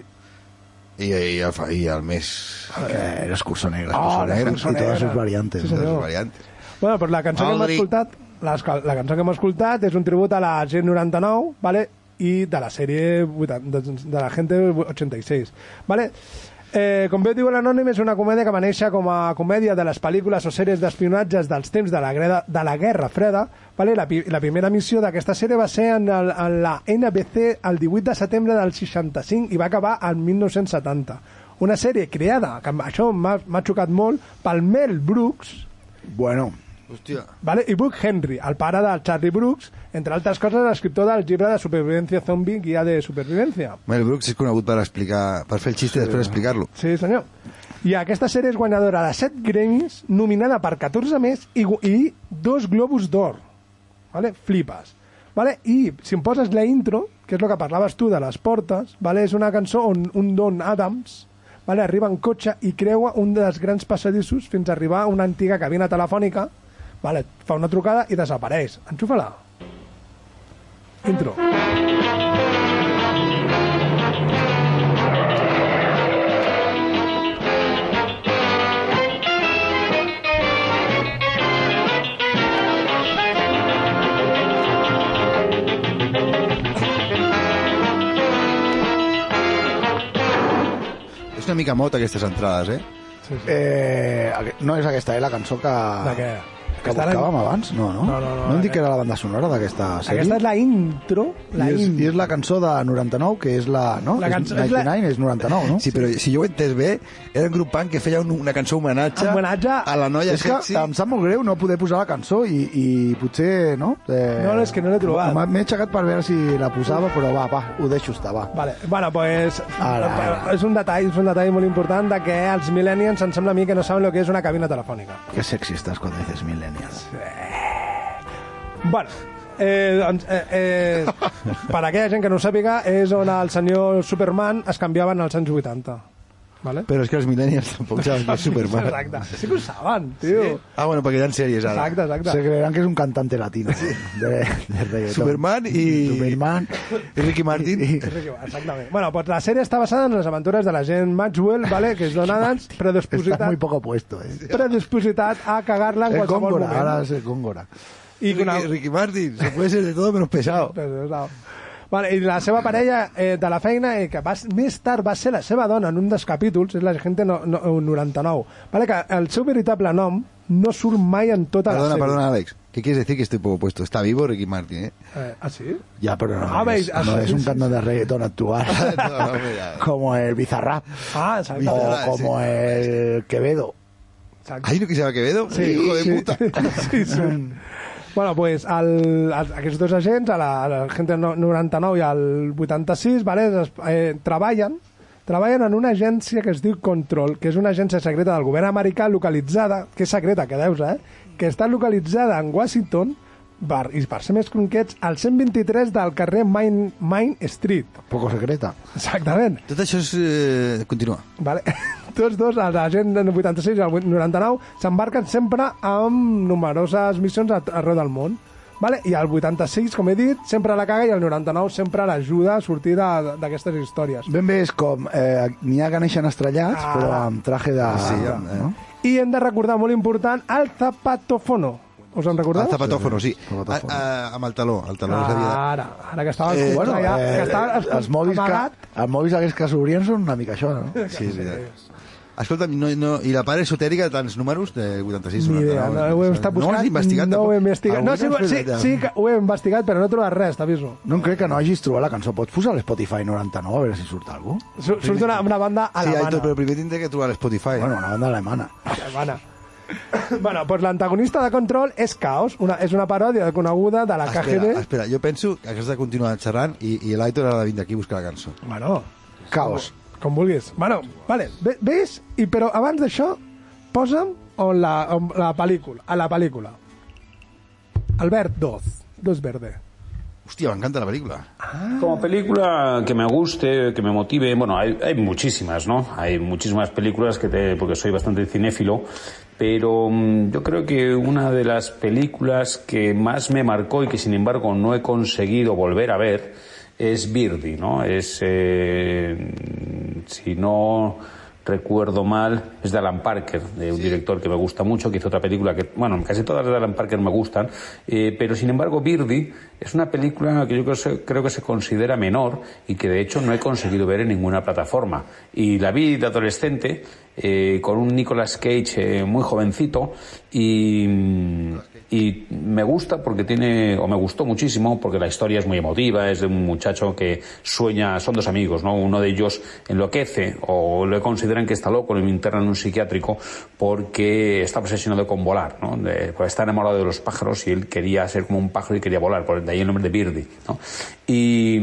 Speaker 4: I, i, el, fa- I el més...
Speaker 3: Eh, l'escurçó negre.
Speaker 2: Oh, l'escurçó
Speaker 3: I totes
Speaker 2: negre.
Speaker 3: les seves variantes.
Speaker 2: Sí,
Speaker 4: de
Speaker 2: senyor.
Speaker 3: no?
Speaker 4: les variantes.
Speaker 2: Bueno, doncs la cançó que hem
Speaker 4: Aldrich.
Speaker 2: escoltat... La, la cançó que hem escoltat és un tribut a la gent 99, vale? i de la sèrie 80 de, de la gente 86. Vale? Eh, com bé diu l'Anònim, és una comèdia que va néixer com a comèdia de les pel·lícules o sèries d'espionatges dels temps de la, greda, de la Guerra Freda. Vale? La, pi- la primera missió d'aquesta sèrie va ser en, el, en la NBC el 18 de setembre del 65 i va acabar el 1970. Una sèrie creada, que això m'ha m'ha xocat molt, pel Mel Brooks,
Speaker 3: Bueno,
Speaker 4: Hòstia.
Speaker 2: Vale? I Buck Henry, el pare de Charlie Brooks, entre altres coses, l'escriptor del llibre de supervivència zombi, guia de supervivència.
Speaker 4: Mel Brooks és conegut per explicar per fer el xiste i després explicar-lo.
Speaker 2: Sí, senyor. I aquesta sèrie és guanyadora de 7 Grammys, nominada per 14 més i, gu- i dos Globus d'Or. Vale? Flipes. Vale? I si em poses la intro, que és el que parlaves tu de les portes, vale? és una cançó on un Don Adams vale? arriba en cotxe i creua un dels grans passadissos fins a arribar a una antiga cabina telefònica, vale? fa una trucada i desapareix. Enxufa-la. Intro.
Speaker 4: És una mica mota aquestes entrades, eh?
Speaker 3: Eh, aqu- no és aquesta, eh, la cançó que...
Speaker 2: De què?
Speaker 3: Que
Speaker 2: Aquesta era-
Speaker 3: buscàvem abans, no, no?
Speaker 2: No, no, no,
Speaker 3: no
Speaker 2: la
Speaker 3: hem dit
Speaker 2: que-
Speaker 3: que era la banda sonora d'aquesta sèrie?
Speaker 2: Aquesta és la intro, la
Speaker 3: I és,
Speaker 2: intro.
Speaker 3: I és la cançó de 99, que és la... No?
Speaker 2: La cançó- és
Speaker 3: és
Speaker 2: la-
Speaker 3: 99, és 99, no?
Speaker 4: Sí, però si jo ho he entès bé, era un grup punk que feia un, una cançó homenatge,
Speaker 2: Homenatge
Speaker 4: a la noia
Speaker 3: és que
Speaker 4: sexy.
Speaker 3: em sap molt greu no poder posar la cançó i, i potser, no? Eh,
Speaker 2: No, no, és que no l'he trobat.
Speaker 3: m'ha- M'he aixecat per veure si la posava, però va, va, ho deixo estar, va.
Speaker 2: Vale, bueno, pues, eh,
Speaker 3: Ara, ara.
Speaker 2: és un detall, és un detall molt important de que els millennials em sembla a mi que no saben el que és una cabina telefònica.
Speaker 3: Que sexy estàs quan dices millennials.
Speaker 2: Bueno, eh, doncs, eh, eh, per a aquella gent que no ho sàpiga, és on el senyor Superman es canviaven als anys 80. Vale?
Speaker 4: Però és que els millennials tampoc saben que és Superman.
Speaker 2: Exacte, sí que ho saben, tio. Sí.
Speaker 4: Ah, bueno, perquè hi ha sèries ara.
Speaker 2: Exacte,
Speaker 3: Se
Speaker 2: exacte.
Speaker 3: creeran que és un cantante latino sí. de, de reggaeton.
Speaker 4: Superman i-
Speaker 3: Superman.
Speaker 4: I Ricky Martin. I, i...
Speaker 2: Exactament. Bueno, pues la sèrie està basada en les aventures de la gent Maxwell, vale? que és Don Adams,
Speaker 3: Estás muy
Speaker 2: predispositat,
Speaker 3: poco puesto, eh.
Speaker 2: predispositat a cagar-la en
Speaker 3: El
Speaker 2: qualsevol
Speaker 3: Góngora,
Speaker 2: moment.
Speaker 3: ara és el Góngora.
Speaker 2: I
Speaker 4: Ricky,
Speaker 2: que una-
Speaker 4: Ricky Martin, se puede ser de todo menos pesado.
Speaker 2: Pues, no. Vale, I la seva parella eh, de la feina, eh, que va, més tard va ser la seva dona en un dels capítols, és la gente no, no, 99. Vale, que el seu veritable nom no surt mai en tota
Speaker 4: Perdona,
Speaker 2: la sèrie.
Speaker 4: perdona, Alex. ¿Qué quieres decir que estoy poco puesto? Está vivo Ricky Martin, ¿eh?
Speaker 2: Eh, ah, sí?
Speaker 3: Ja, però no,
Speaker 2: Ah, veis,
Speaker 3: és, no
Speaker 2: ah,
Speaker 3: és un
Speaker 2: sí,
Speaker 3: cantant de reggaeton actual.
Speaker 4: No, no, mira.
Speaker 3: Como el Bizarrap.
Speaker 2: Ah, exacte. oh,
Speaker 3: O
Speaker 4: Bizarrap,
Speaker 3: como
Speaker 4: sí.
Speaker 3: el Quevedo.
Speaker 2: exacte.
Speaker 4: ¿Ahí no que se va Quevedo? Sí. Hijo de puta.
Speaker 2: sí, sí. Bueno, pues el, el, aquests dos agents, a la, a la gent del no- 99 i al 86, vale, es, eh, treballen treballen en una agència que es diu Control, que és una agència secreta del govern americà localitzada, que és secreta, que deus, eh? Que està localitzada en Washington, per, i per ser més concrets, al 123 del carrer Main, Main Street.
Speaker 3: Poco secreta.
Speaker 2: Exactament.
Speaker 4: Tot això és... Eh, continua.
Speaker 2: Vale. Tots dos, la gent del 86 i el 99, s'embarquen sempre amb numeroses missions a- arreu del món. Vale? I el 86, com he dit, sempre la caga i el 99 sempre l'ajuda a sortir de- d'aquestes històries.
Speaker 3: Ben bé és com... Eh, N'hi ha que neixen estrellats,
Speaker 2: Ah.
Speaker 3: però amb traje de...
Speaker 4: Sí, amb, eh,
Speaker 3: no?
Speaker 2: I hem de recordar, molt important, el zapatofono. Us en recordeu?
Speaker 4: El zapatófono, sí.
Speaker 3: Zapatófono.
Speaker 4: A, a, amb el taló. El taló ah. s'havia de...
Speaker 2: Ara, ara que estava eh,
Speaker 3: Bueno,
Speaker 2: bueno, ja, que estava
Speaker 3: eh, els mòbils que,
Speaker 2: amagat,
Speaker 3: els mòbils aquests que s'obrien són una mica això, no?
Speaker 4: Sí, és veritat. Escolta'm, no, no, i la part esotèrica de tants números de 86,
Speaker 2: Ni idea, no, ho hem estat
Speaker 4: No
Speaker 2: buscant,
Speaker 4: has investigat
Speaker 2: no ho he investigat. No, sí,
Speaker 4: Alguna has
Speaker 2: sí,
Speaker 4: fet-
Speaker 2: sí que ho he investigat, però no he trobat res, t'aviso.
Speaker 3: No em crec que no hagis trobat la cançó. Pots posar a l'Spotify 99 a veure si surt algú?
Speaker 2: Sur- Surt una, una banda
Speaker 4: Sí,
Speaker 2: alemana.
Speaker 4: Aitor, però primer tindré que trobar l'Spotify.
Speaker 3: Bueno, una banda alemana.
Speaker 2: Hermana. bueno, pues l'antagonista de Control és Caos, una, és una paròdia coneguda de la
Speaker 4: espera,
Speaker 2: KGB.
Speaker 4: espera, jo penso que has de continuar xerrant i, i l'Aitor ha de vindre aquí a buscar la cançó.
Speaker 2: Bueno,
Speaker 3: Caos.
Speaker 2: com vulguis. Bueno, vale, ve- ves, i, però abans d'això, posa'm on la, on la pel·lícula, a la pel·lícula. Albert 2, 2 verde.
Speaker 4: Hòstia, m'encanta la pel·lícula.
Speaker 9: Como película que me guste, que me motive, bueno, hay, hay muchísimas, ¿no? Hay muchísimas películas que te, porque soy bastante cinéfilo, pero mm, yo creo que una de las películas que más me marcó y que sin embargo no he conseguido volver a ver es Birdie, ¿no? Es, eh, mm, si no recuerdo mal, es de Alan Parker, de un director que me gusta mucho, que hizo otra película que, bueno, casi todas de Alan Parker me gustan, eh, pero sin embargo Birdie es una película que yo creo, se- creo que se considera menor y que de hecho no he conseguido ver en ninguna plataforma. Y la vi de adolescente eh, con un Nicolas Cage eh, muy jovencito y... mm, Y me gusta porque tiene, o me gustó muchísimo porque la historia es muy emotiva, es de un muchacho que sueña, son dos amigos, ¿no? Uno de ellos enloquece o le consideran que está loco, lo internan en un psiquiátrico porque está obsesionado con volar, ¿no? De- pues está enamorado de los pájaros y él quería ser como un pájaro y quería volar, por de ahí el nombre de Birdie, ¿no? Y,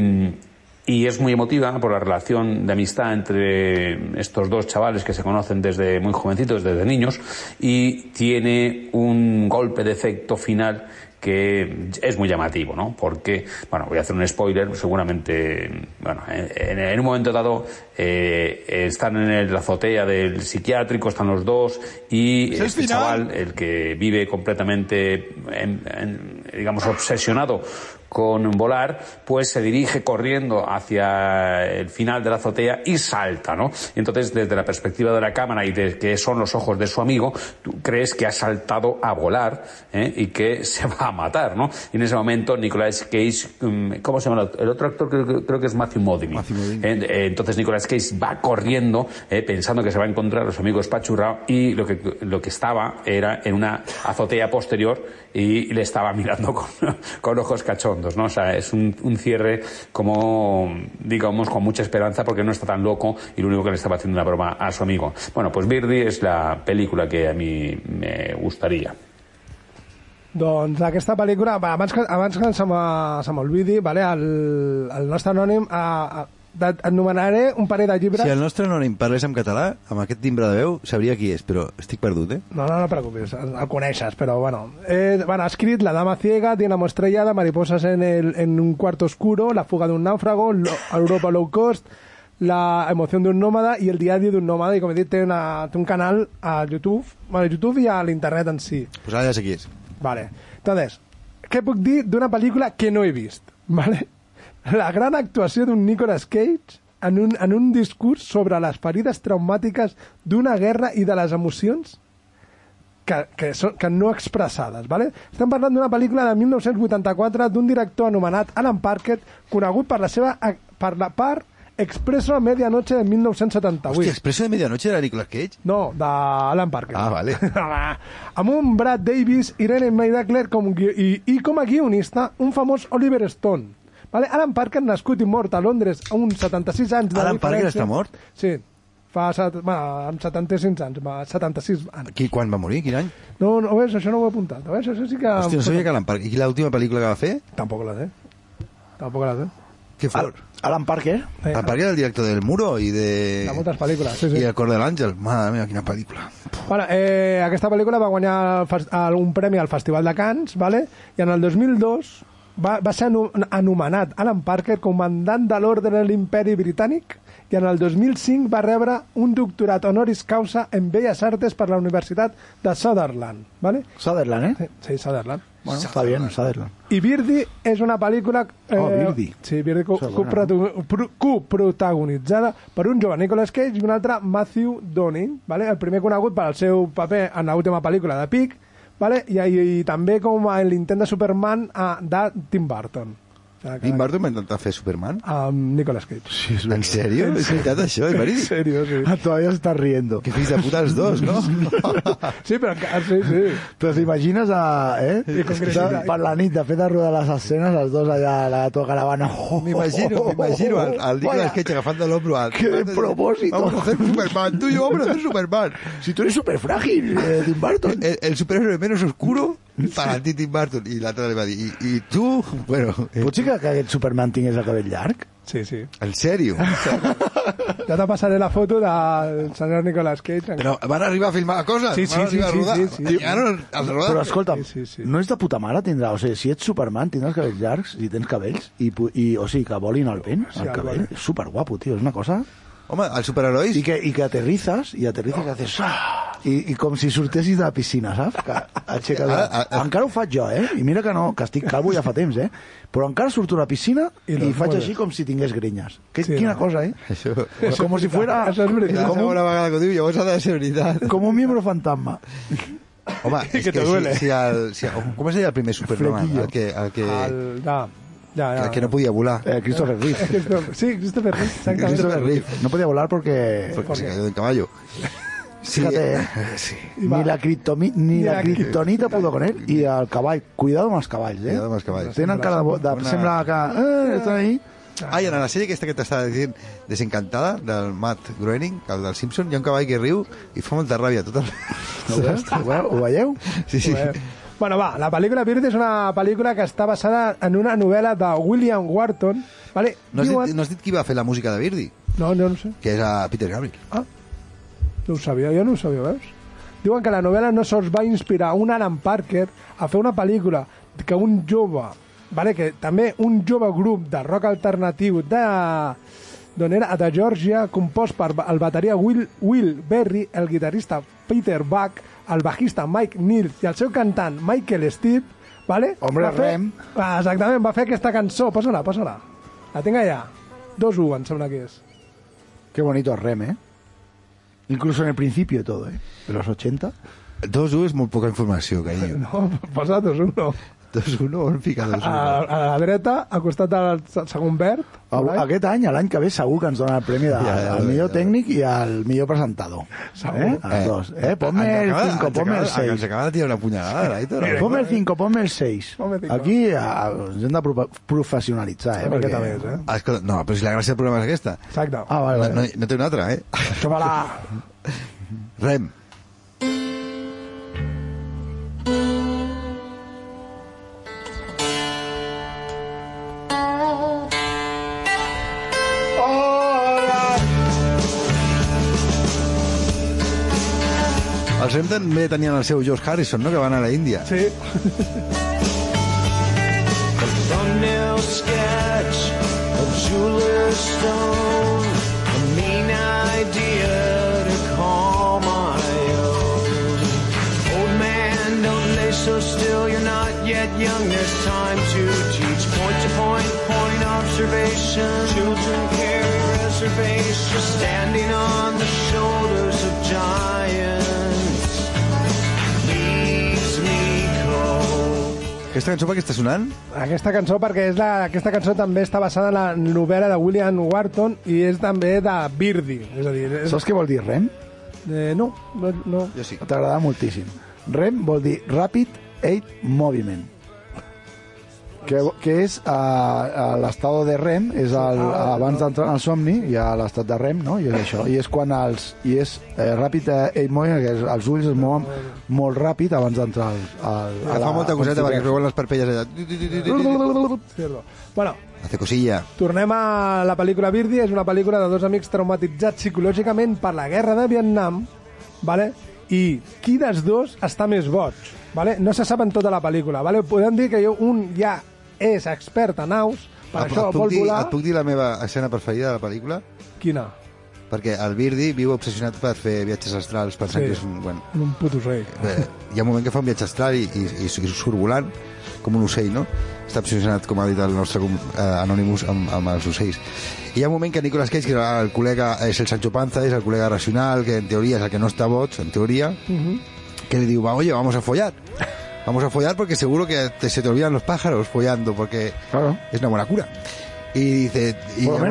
Speaker 9: y es muy emotiva por la relación de amistad entre estos dos chavales que se conocen desde muy jovencitos, desde niños, y tiene un golpe de efecto final que es muy llamativo, ¿no? Porque, bueno, voy a hacer un spoiler, seguramente, bueno, en, en un momento dado eh, están en el- la azotea del psiquiátrico, están los dos, y
Speaker 10: ¿Es el
Speaker 9: este
Speaker 10: final?
Speaker 9: chaval el que vive completamente, en- en- digamos, obsesionado con volar, pues se dirige corriendo hacia el final de la azotea y salta, ¿no? Y entonces, desde la perspectiva de la cámara y de que son los ojos de su amigo, tú crees que ha saltado a volar ¿eh? y que se va a matar, ¿no? Y en ese momento, Nicolas Cage, mm, ¿cómo se llama? el otro? El otro actor creo, que- creo que es Matthew Modine. En- eh, entonces, Nicolas Cage va corriendo, eh, pensando que se va a encontrar a su amigo Spachurrao y lo que, lo que estaba era en una azotea posterior y le estaba mirando con, con ojos cachondos, ¿no? O sea, es un, un cierre como, digamos, con mucha esperanza porque no está tan loco y lo único que le estaba haciendo una broma a su amigo. Bueno, pues Birdie es la película que a mí me gustaría.
Speaker 2: Doncs aquesta pel·lícula, va, abans que, abans que se m'ha- se m'olvidi, vale, el, el nostre anònim, a, a, et nomenaré un parell de llibres...
Speaker 4: Si el nostre anònim parlés en català, amb aquest timbre de veu, sabria qui és, però estic perdut, eh?
Speaker 2: No, no, no preocupes, el, el coneixes, però bueno. Eh, bueno, ha escrit La dama ciega, Dinamo estrellada, Mariposas en, el, en un cuarto oscuro, La fuga de un náufrago, Lo- Europa low cost, La emoción de un nómada i El diari d'un nómada, i com he dit, té, una, té un canal a YouTube, bueno, a YouTube i a l'internet en si.
Speaker 4: Pues ara ja sé qui és.
Speaker 2: Vale. Entonces, què puc dir d'una pel·lícula que no he vist? Vale? La gran actuació d'un Nicolas Cage en un, en un discurs sobre les ferides traumàtiques d'una guerra i de les emocions que, que, són, que no expressades. Vale? Estem parlant d'una pel·lícula de 1984 d'un director anomenat Alan Parker, conegut per la seva per la part Expreso a medianoche de 1978.
Speaker 4: Hòstia, Expresso de Medianoche era Nicolas Cage?
Speaker 2: No, d'Alan Parker.
Speaker 4: Ah, vale.
Speaker 2: amb un Brad Davis, Irene Maidakler com gui- i, i com a guionista un famós Oliver Stone. Vale? Alan Parker, nascut i mort a Londres a uns 76 anys de
Speaker 4: Alan Parker
Speaker 2: diferència.
Speaker 4: està mort?
Speaker 2: Sí, fa set, va, amb 75 anys, va, 76 anys.
Speaker 4: Qui, quan va morir? Quin any?
Speaker 2: No, no, ves, això no ho he apuntat. Ves, això sí que...
Speaker 4: Hòstia, no sabia que Alan Parker... I l'última pel·lícula que va fer?
Speaker 2: Tampoc la té. Tampoc eh? la té.
Speaker 4: Què fort.
Speaker 3: Alan Parker?
Speaker 4: Alan eh? Parker era el director del Muro i de...
Speaker 2: De moltes pel·lícules, sí, sí.
Speaker 4: I el Cor de l'Àngel. Mare meva, quina pel·lícula.
Speaker 2: Bueno, eh, aquesta pel·lícula va guanyar el fes- el- un premi al Festival de Cannes, vale? i en el 2002 va, va ser anu- anomenat Alan Parker comandant de l'ordre de l'imperi britànic i en el 2005 va rebre un doctorat honoris causa en Belles Artes per la Universitat de Sutherland. Vale?
Speaker 3: Sutherland, eh?
Speaker 2: Sí, Sutherland.
Speaker 3: Bueno, està bien, Sutherland.
Speaker 2: I Birdie és una pel·lícula... Eh,
Speaker 3: Oh, Birdie.
Speaker 2: Sí, Birdie, co-
Speaker 3: Això és
Speaker 2: co-
Speaker 3: bona,
Speaker 2: protu- pro- coprotagonitzada per un jove Nicolas Cage i un altre Matthew Donning, vale? el primer conegut pel seu paper en l'última pel·lícula de Pic, vale? I, i, i també com a l'intent de Superman a, de Tim Burton. Ja, que-
Speaker 4: Tim Burton va intentar fer Superman?
Speaker 2: Amb Nicolas Cage. Sí,
Speaker 4: En sèrio? És veritat, això? És
Speaker 2: En
Speaker 4: verídic?
Speaker 2: sèrio, sí.
Speaker 3: Ah, todavía estás riendo.
Speaker 4: Que fills de puta els dos, no?
Speaker 2: Sí, però encara- sí, sí.
Speaker 3: Però t'imagines a... Eh?
Speaker 2: I com que-
Speaker 3: Està Per la nit, de fet, a rodar les escenes, els dos allà a la tua caravana.
Speaker 4: M'imagino, m'imagino al, al este Nicolas
Speaker 3: Vaya,
Speaker 4: Cage agafando el hombro al...
Speaker 3: ¡Qué despropósito!
Speaker 4: Vamos a hacer Superman, tú y yo vamos a hacer Superman.
Speaker 3: Si tú eres súper frágil, eh, Tim Burton.
Speaker 4: El, el superhéroe menos oscuro para ti, Tim Burton. Y la otra le va a decir, y, y tú, bueno, eh,
Speaker 3: Potser que, que aquest Superman tingués el cabell llarg?
Speaker 2: sí, sí.
Speaker 4: en serio.
Speaker 2: Ja te passaré la foto del senyor Nicolas Cage.
Speaker 4: Pero van arriba a filmar cosas.
Speaker 2: Sí,
Speaker 4: van
Speaker 2: sí, sí,
Speaker 4: arriba a
Speaker 2: sí,
Speaker 4: rodar.
Speaker 2: sí, sí.
Speaker 4: Llegaron al rodar.
Speaker 3: Però escolta'm,
Speaker 2: Sí, sí, sí.
Speaker 3: no és de puta mare tindrà... O sigui, si ets Superman, tindràs cabells llargs, i tens cabells, i, pu- i o sigui, que volin el vent, el
Speaker 2: el
Speaker 3: cabell.
Speaker 2: volen.
Speaker 3: És superguapo, tio, és una cosa...
Speaker 4: Home, el superheroi...
Speaker 3: I que, i que aterrizas, i aterrizas i haces... "Ah", I, I com si sortessis de la piscina, saps? Que aixeques...
Speaker 4: Ah,
Speaker 3: La...
Speaker 4: ah, ah.
Speaker 3: Encara ho faig jo, eh? I mira que no, que estic calvo ja fa temps, eh? Però encara surto a la piscina i,
Speaker 2: I no,
Speaker 3: i faig
Speaker 2: molt bé.
Speaker 3: així com si tingués grinyes. Que,
Speaker 2: Sí,
Speaker 3: sí, quina
Speaker 2: no.
Speaker 3: cosa, eh?
Speaker 4: Això...
Speaker 3: Com si fuera...
Speaker 2: Això és
Speaker 4: És la
Speaker 2: veritat.
Speaker 3: Com un,
Speaker 4: segona vegada que ho diu, llavors ha de ser veritat.
Speaker 3: com un miembro fantasma.
Speaker 4: Home, és que,
Speaker 2: te duele.
Speaker 4: Si, si el, si el, com es deia el primer Superman?
Speaker 3: Flequillo.
Speaker 4: El que, el que, el...
Speaker 2: El, ja, ja, ja.
Speaker 4: que no podia volar.
Speaker 3: Eh, Christopher Reeve.
Speaker 2: Christopher- Sí, Christopher Reeve, exactamente.
Speaker 4: Christopher Reeve.
Speaker 3: No podía volar porque...
Speaker 4: Porque se cayó del caballo.
Speaker 3: Fíjate, eh.
Speaker 4: sí.
Speaker 3: Ni la, criptomi- ni
Speaker 2: Ni
Speaker 3: la
Speaker 2: la
Speaker 3: criptonita pudo con él. I el cavall. Cuidado amb els cavalls, eh?
Speaker 4: Cuidado amb els cavalls.
Speaker 3: Tenen cara de... bo- de
Speaker 4: Una-
Speaker 3: Sembla que... Eh, estan ahí.
Speaker 4: Ah, i en la sèrie aquesta que t'estava dient Desencantada, del Matt Groening el del Simpson, hi ha un cavall que riu i fa molta ràbia tot el...
Speaker 3: Ho veus? Ho veieu? Ho veieu?
Speaker 4: sí, sí.
Speaker 2: Bueno, va, la pel·lícula Bird és una pel·lícula que està basada en una novel·la de William Wharton. Vale?
Speaker 4: No has, dit,
Speaker 2: Diuen-
Speaker 4: no has dit qui va fer la música de Birdy,
Speaker 2: no, no, no sé.
Speaker 4: que és a Peter Gabriel.
Speaker 2: No ho sabia, jo no ho sabia, veus? Diuen que la novel·la no sols va inspirar un Alan Parker a fer una pel·lícula que un jove, vale, que també un jove grup de rock alternatiu de d'on era, de Georgia, compost per el bateria Will, Will Berry, el guitarrista Peter Buck, el bajista Mike Neal i el seu cantant Michael Steele, vale?
Speaker 3: Hombre,
Speaker 2: Va fer-
Speaker 3: Rem.
Speaker 2: Ah, exactament, va fer aquesta cançó. Posa-la, posa-la. La tinc allà. 2-1, em sembla que és.
Speaker 3: Qué bonito Rem, ¿eh? Incluso en el principio todo, ¿eh? De los 80.
Speaker 4: Dos u és molt poca informació, carinyo.
Speaker 2: No, posa 2-1.
Speaker 4: Dos u no, on fica dos u?
Speaker 3: Ah,
Speaker 2: a, a la dreta, al costat del se- segon verd.
Speaker 3: Au-
Speaker 2: right?
Speaker 3: Aquest any, l'any que ve, segur que ens dona el premi de,
Speaker 4: ja,
Speaker 3: al
Speaker 4: ja,
Speaker 3: millor
Speaker 4: ja.
Speaker 3: tècnic i al millor presentador.
Speaker 2: Segur.
Speaker 3: Eh? Els dos. Eh? Ponme
Speaker 4: Ens
Speaker 3: el 5,
Speaker 4: acaba- ens
Speaker 3: ponme
Speaker 4: acaba-
Speaker 3: el
Speaker 4: Ens
Speaker 3: 6.
Speaker 4: acaba de tirar una punyalada, l'Aitor.
Speaker 3: Ponme el 5, ponme el 6.
Speaker 2: Ponme cinco.
Speaker 3: Aquí a, ens hem de profe- professionalitzar, eh?
Speaker 2: Una miqueta més, eh?
Speaker 4: Ah, escolta, no, però si la gràcia del programa és aquesta.
Speaker 2: Exacte.
Speaker 3: Ah, vale,
Speaker 4: No,
Speaker 3: vale.
Speaker 4: no, no té una altra, eh?
Speaker 2: Toma la...
Speaker 4: Rem. Els Rem també tenien el seu George Harrison, no?, que va anar a la Índia.
Speaker 2: Sí,
Speaker 7: thumbnail sketch of jeweler's stone. A mean idea to call my own. Old man, don't lay so still. You're not yet young. There's time to teach point to point, point observation. Children carry reservations. Standing on the shoulders of giants. Leaves me cold.
Speaker 4: Aquesta cançó per què està sonant?
Speaker 2: aquesta cançó, perquè és la, aquesta cançó també està basada en la novel·la de William Wharton i és també de Birdie. És a dir, és,
Speaker 3: Saps què vol dir Rem?
Speaker 2: eh, no, no, no.
Speaker 4: Jo sí.
Speaker 3: T'agrada moltíssim. Rem vol dir Rapid Aid Movement. Que, que és a, a l'estat de REM, és el, abans d'entrar en el somni, hi ha l'estat de REM, no? I és això. I és quan els... I és eh, Rapid Aid Movement, que és, els ulls es mouen molt ràpid abans d'entrar al, al,
Speaker 4: Ah, fa molta coseta perquè veuen les parpelles allà. Tu, tu, tu, tu, tu, tu.
Speaker 2: Cierto. Bueno,
Speaker 4: Hace cosilla.
Speaker 2: Tornem a la pel·lícula Birdie, és una pel·lícula de dos amics traumatitzats psicològicament per la guerra de Vietnam, vale? i qui dels dos està més boig? Vale? No se sap en tota la pel·lícula. Vale? Podem dir que jo, un ja és expert en aus, per
Speaker 4: Et-
Speaker 2: això
Speaker 4: Ah, et, puc
Speaker 2: vol
Speaker 4: dir,
Speaker 2: volar...
Speaker 4: et puc dir la meva escena preferida de la pel·lícula?
Speaker 2: Quina?
Speaker 4: Perquè el Birdy viu obsessionat per fer viatges astrals, pensant
Speaker 2: Sí.
Speaker 4: que és un... Bueno,
Speaker 2: Un puto rei.
Speaker 4: eh, hi ha un moment que fa un viatge astral i, i, i surt volant com un ocell, no? Està obsessionat, com ha dit el nostre com, eh, Anonymous, amb, amb els ocells. I hi ha un moment que Nicolas Cage, que era el col·lega, és el Sancho Panza, és el col·lega racional, que en teoria és el que no està boig, en teoria, que li diu, va, oye, vamos a follar. Vamos a follar porque seguro que te- se te olvidan los pájaros follando, porque
Speaker 3: Claro.
Speaker 4: es una buena cura. Y dice... Y
Speaker 3: Por lo
Speaker 4: llavors-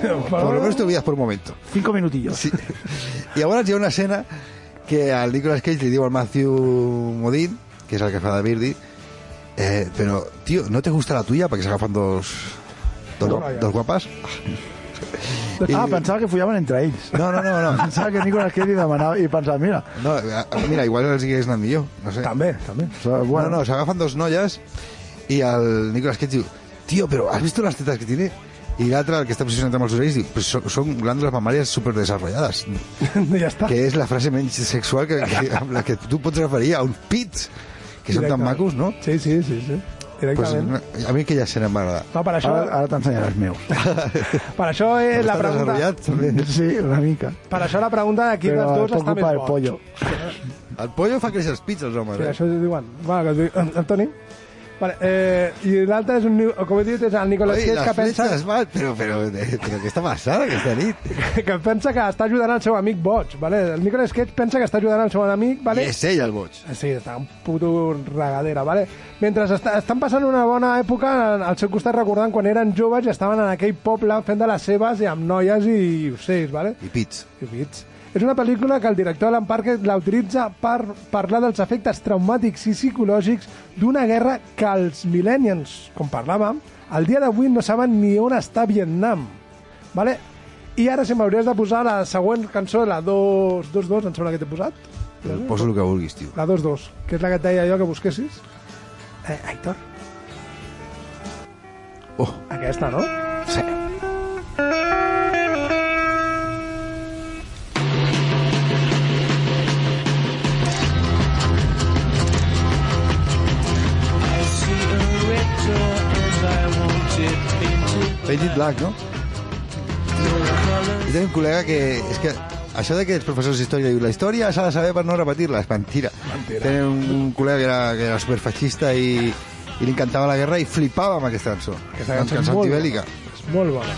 Speaker 3: menos,
Speaker 4: Por lo menos te olvidas por un momento.
Speaker 3: cinco minutillos.
Speaker 4: Sí. I llavors hi ha una escena que al Nicolas Cage li diu al Matthew Modín, que és el que fa de Birdie, eh, però, tio, ¿no te gusta la tuya? Perquè s'agafen dos, dos, dos guapas.
Speaker 3: Ah, pensava que follaven entre ells.
Speaker 4: No, no, no, no.
Speaker 3: Pensava que Nicolas Cage li demanava i pensava, mira,
Speaker 4: no eh, mira, igual els hagués anat millor. No sé.
Speaker 2: També, també.
Speaker 4: Bueno, no, s'agafen dos noies i el Nicolas Cage diu, tio, però has vist les tetes que tiene? I l'altre, el que està obsessionat amb els ocells, diu, però són, són glàndules mamàries superdesarrollades.
Speaker 2: ja està.
Speaker 4: que és la frase menys sexual que, que, amb la que tu pots referir a un pit, que són tan
Speaker 2: Directament.
Speaker 4: macos, no?
Speaker 2: Sí, sí, sí. sí.
Speaker 4: Pues,
Speaker 2: Directament. Pues,
Speaker 4: a mi aquella escena em va agradar.
Speaker 2: no, per això,
Speaker 3: ara, ara t'ensenyaré els meus.
Speaker 2: per això és la
Speaker 4: ah. Està
Speaker 2: pregunta...
Speaker 4: desarrollat, també.
Speaker 3: Sí, una mica.
Speaker 2: Per això la pregunta de qui
Speaker 3: Però
Speaker 2: dels dos
Speaker 3: per
Speaker 2: està
Speaker 3: culpa
Speaker 2: més
Speaker 3: del
Speaker 2: boig.
Speaker 3: pollo.
Speaker 4: El pollo fa créixer els pits, els homes.
Speaker 2: Sí,
Speaker 4: eh?
Speaker 2: això ho diuen. Va, que ho diu- Antoni. Vale, eh, I l'altre és un... ni- Com he dit, és el Nicolas
Speaker 4: Oi,
Speaker 2: Cage
Speaker 4: les
Speaker 2: que pensa,
Speaker 4: fletxes, mal, però, però, eh, però què està passant aquesta nit?
Speaker 2: que pensa que està ajudant el seu amic boig, vale? El Nicolas Cage pensa que està ajudant el seu amic,
Speaker 4: I
Speaker 2: vale? Eh,
Speaker 4: és ell, el boig.
Speaker 2: Sí, està un puto regadera, vale? Mentre està, estan passant una bona època al seu costat recordant quan eren joves i estaven en aquell poble fent de les seves i amb noies i ocells, vale?
Speaker 4: I pits.
Speaker 2: I bits. És una pel·lícula que el director Alan Parker la utilitza per parlar dels efectes traumàtics i psicològics d'una guerra que els millennials, com parlàvem, al dia d'avui no saben ni on està Vietnam. Vale? I ara, si m'hauries de posar la següent cançó, la 2-2, em sembla que t'he posat.
Speaker 4: Poso el que vulguis, tio.
Speaker 2: La 2-2, que és la que et deia jo que busquessis. Eh, Aitor.
Speaker 4: Oh.
Speaker 2: Aquesta, no?
Speaker 4: Sí.
Speaker 3: Faded Black, no?
Speaker 4: Jo tenia un col·lega que... És que això de que els professors d'història diuen la història s'ha de saber per no repetir-la, és mentira. mentira. Tenen un, un col·lega que era, que era superfeixista i, i li encantava la guerra i flipava amb aquesta cançó.
Speaker 2: Aquesta
Speaker 4: Una
Speaker 2: cançó és
Speaker 4: cançó
Speaker 2: molt
Speaker 4: antibèl·lica.
Speaker 2: És molt bona.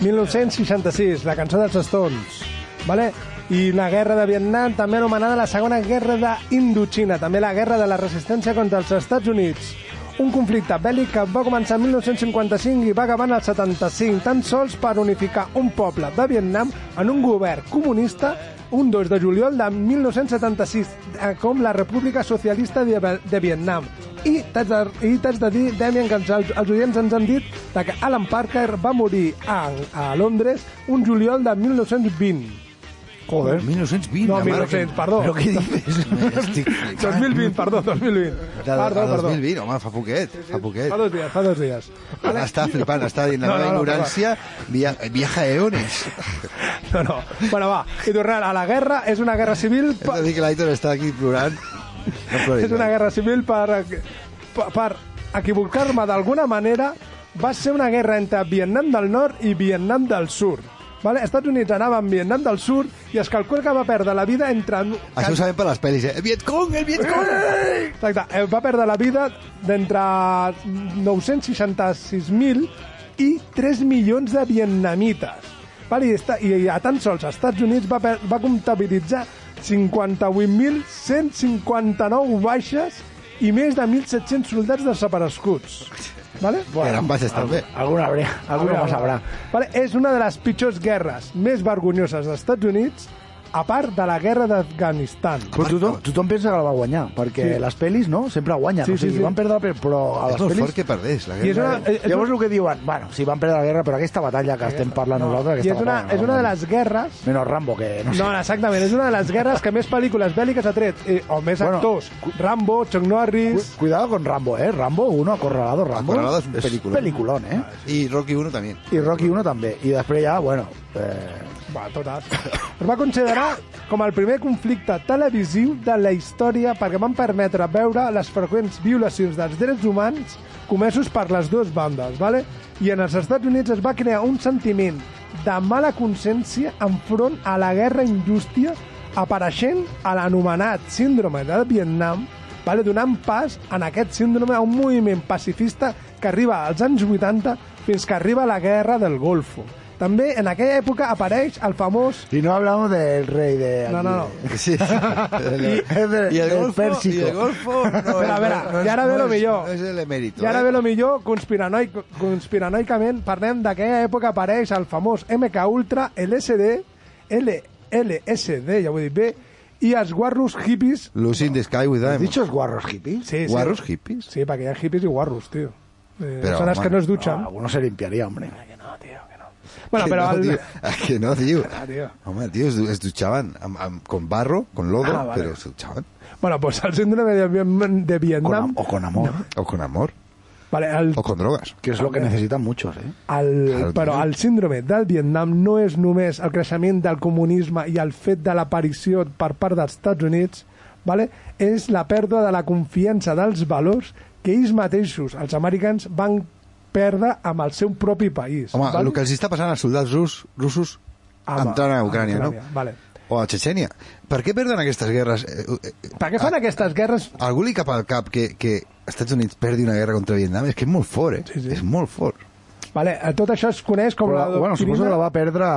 Speaker 2: ...1966, la cançó dels Stones, vale? i la guerra de Vietnam, també anomenada la segona guerra d'Indochina, també la guerra de la resistència contra els Estats Units. Un conflicte bèl·lic que va començar en 1955 i va acabar en el 75, tan sols per unificar un poble de Vietnam en un govern comunista un 2 de juliol de 1976, eh, com la República Socialista de, de Vietnam. I t'haig de, i t'haig de dir, Damien, que ens, els, els oients ens han dit de que Alan Parker va morir a, a Londres un juliol de 1920. Joder.
Speaker 4: 1920,
Speaker 2: No,
Speaker 4: la mare
Speaker 2: 1900,
Speaker 4: que-
Speaker 2: perdó.
Speaker 4: Però què dices? Estic...
Speaker 2: 2020, perdó, 2020.
Speaker 4: De,
Speaker 2: Perdó,
Speaker 4: de
Speaker 2: perdó.
Speaker 4: 2020, home, fa poquet, fa poquet.
Speaker 2: Fa dos dies, fa dos dies.
Speaker 4: Ara està flipant, està dient la
Speaker 2: No, no,
Speaker 4: meva
Speaker 2: no,
Speaker 4: ignorància via, viaja a eones.
Speaker 2: No, no. Bueno, va, i tornant a la guerra, és una guerra civil...
Speaker 4: Hem de dir que l'Aitor està aquí plorant. No ploris,
Speaker 2: és una
Speaker 4: Aitor.
Speaker 2: guerra civil per, per, per equivocar-me d'alguna manera va ser una guerra entre Vietnam del Nord i Vietnam del Sud vale? Estats Units anava amb Vietnam del Sud i es calcula que va perdre la vida entre...
Speaker 4: Això ho sabem per les pel·lis, eh? El Vietcong, el Vietcong!
Speaker 2: Exacte, eh, va perdre la vida d'entre 966.000 i 3 milions de vietnamites. Vale, i, està, I a tan sols als Estats Units va, per- va comptabilitzar 58.159 baixes i més de 1.700 soldats desaparescuts. Vale?
Speaker 4: Eren baixes, també.
Speaker 10: Alguna, habría, alguna más habrá.
Speaker 2: Vale, és una de les pitjors guerres més vergonyoses dels Estats Units, a part de la guerra d'Afganistan.
Speaker 10: Però tothom, tothom pensa que la va guanyar, perquè
Speaker 2: Sí.
Speaker 10: sí. les pel·lis, no?, sempre guanyen. Sí,
Speaker 2: Sí,
Speaker 10: o sigui,
Speaker 2: sí, Eh, sí.
Speaker 10: van perdre la pel·li, però a
Speaker 4: És
Speaker 10: les
Speaker 4: molt fort
Speaker 10: pel·lis...
Speaker 4: que perdés,
Speaker 2: I
Speaker 4: la
Speaker 2: és
Speaker 4: guerra.
Speaker 2: una, és- és
Speaker 10: Llavors el que diuen, bueno, si van perdre la guerra, però aquesta batalla que estem parlant nosaltres...
Speaker 2: I
Speaker 10: Aquesta
Speaker 2: és una,
Speaker 10: batalla,
Speaker 2: és una de les guerres...
Speaker 10: Menos Rambo, que no sé...
Speaker 2: No, exactament, és una de les guerres que més pel·lícules bèl·liques ha tret, eh, o més
Speaker 10: Bueno,
Speaker 2: actors. Rambo, Chuck
Speaker 10: Cu-
Speaker 2: Norris...
Speaker 10: Cuidado con Rambo, ¿eh? Rambo 1, Acorralado Rambo.
Speaker 4: Acorralado es un
Speaker 10: es
Speaker 4: peliculón.
Speaker 10: peliculón, ¿eh?
Speaker 4: I Rocky 1 també.
Speaker 10: Y Rocky 1 también. Y después ya, bueno... Eh,
Speaker 2: Va, totes. Es va considerar com el primer conflicte televisiu de la història perquè van permetre veure les freqüents violacions dels drets humans comesos per les dues bandes, vale? I en els Estats Units es va crear un sentiment de mala consciència enfront a la guerra injústia apareixent a l'anomenat síndrome de Vietnam, vale? donant pas en aquest síndrome a un moviment pacifista que arriba als anys 80 fins que arriba la guerra del Golfo. També en aquella època apareix el famós
Speaker 10: y no hablamos del rey de...
Speaker 2: No, no, no.
Speaker 4: Sí.
Speaker 10: Es de-
Speaker 4: I el
Speaker 10: del
Speaker 4: golfo,
Speaker 10: Pérsico.
Speaker 4: i el golfo no,
Speaker 2: Espera, espera,
Speaker 4: no, no,
Speaker 2: i ara ve
Speaker 4: no
Speaker 2: lo
Speaker 4: és-
Speaker 2: millor.
Speaker 4: No és l'emèrito.
Speaker 2: I ara
Speaker 4: eh?
Speaker 2: ve lo millor, conspiranoic, conspiranoicament, parlem d'aquella època apareix el famós MK Ultra, LSD, LSD, ja ho he dit bé, i els guarros hippies...
Speaker 4: Lucy in the Sky with
Speaker 10: ¿Has
Speaker 4: Diamonds.
Speaker 10: dicho es guarros hippies?
Speaker 2: Sí,
Speaker 4: Guarros
Speaker 2: sí,
Speaker 4: hippies?
Speaker 2: Sí, perquè hi ha hippies i guarros, tio. Eh,
Speaker 4: Però,
Speaker 2: són els que
Speaker 4: home,
Speaker 2: no es dutxen.
Speaker 10: Alguno se limpiaría, hombre.
Speaker 2: bueno,
Speaker 4: Que
Speaker 2: però...
Speaker 4: no,
Speaker 2: El...
Speaker 4: tio. Ah, que no, tio.
Speaker 2: Ah, tio.
Speaker 4: Home, tio, es, du- es dutxaven amb, amb, con barro, con lodo, ah, vale. però es dutxaven.
Speaker 2: Bueno, pues el síndrome de, Vietnam- de
Speaker 10: Con
Speaker 2: Vietnam...
Speaker 10: am- o con amor.
Speaker 4: O con amor,
Speaker 2: Vale, el,
Speaker 4: o con drogas.
Speaker 10: Que es lo que necesitan muchos, ¿eh?
Speaker 2: El,
Speaker 4: Claro,
Speaker 2: però
Speaker 4: tio.
Speaker 2: el síndrome del Vietnam no és només el creixement del comunisme i el fet de l'aparició per part dels Estats Units, vale? és la pèrdua de la confiança dels valors que ells mateixos, els americans, van perdre amb el seu propi país.
Speaker 4: Home,
Speaker 2: vale?
Speaker 4: el que els està passant als soldats rus, russos
Speaker 2: Amb-
Speaker 4: entrant a
Speaker 2: amb
Speaker 4: Ucrània, no?
Speaker 2: Vale.
Speaker 4: O a Txetxènia. Per què perden aquestes guerres? Eh, eh, eh,
Speaker 2: Per què fan
Speaker 4: a-
Speaker 2: aquestes guerres?
Speaker 4: Algú li cap al cap que, que Estats Units perdi una guerra contra Vietnam? És que és molt fort, eh?
Speaker 2: Sí, sí.
Speaker 4: És molt fort.
Speaker 2: Vale, eh, tot això es coneix com
Speaker 3: Però,
Speaker 2: la
Speaker 3: bueno,
Speaker 2: doctrina...
Speaker 3: suposo que la va perdre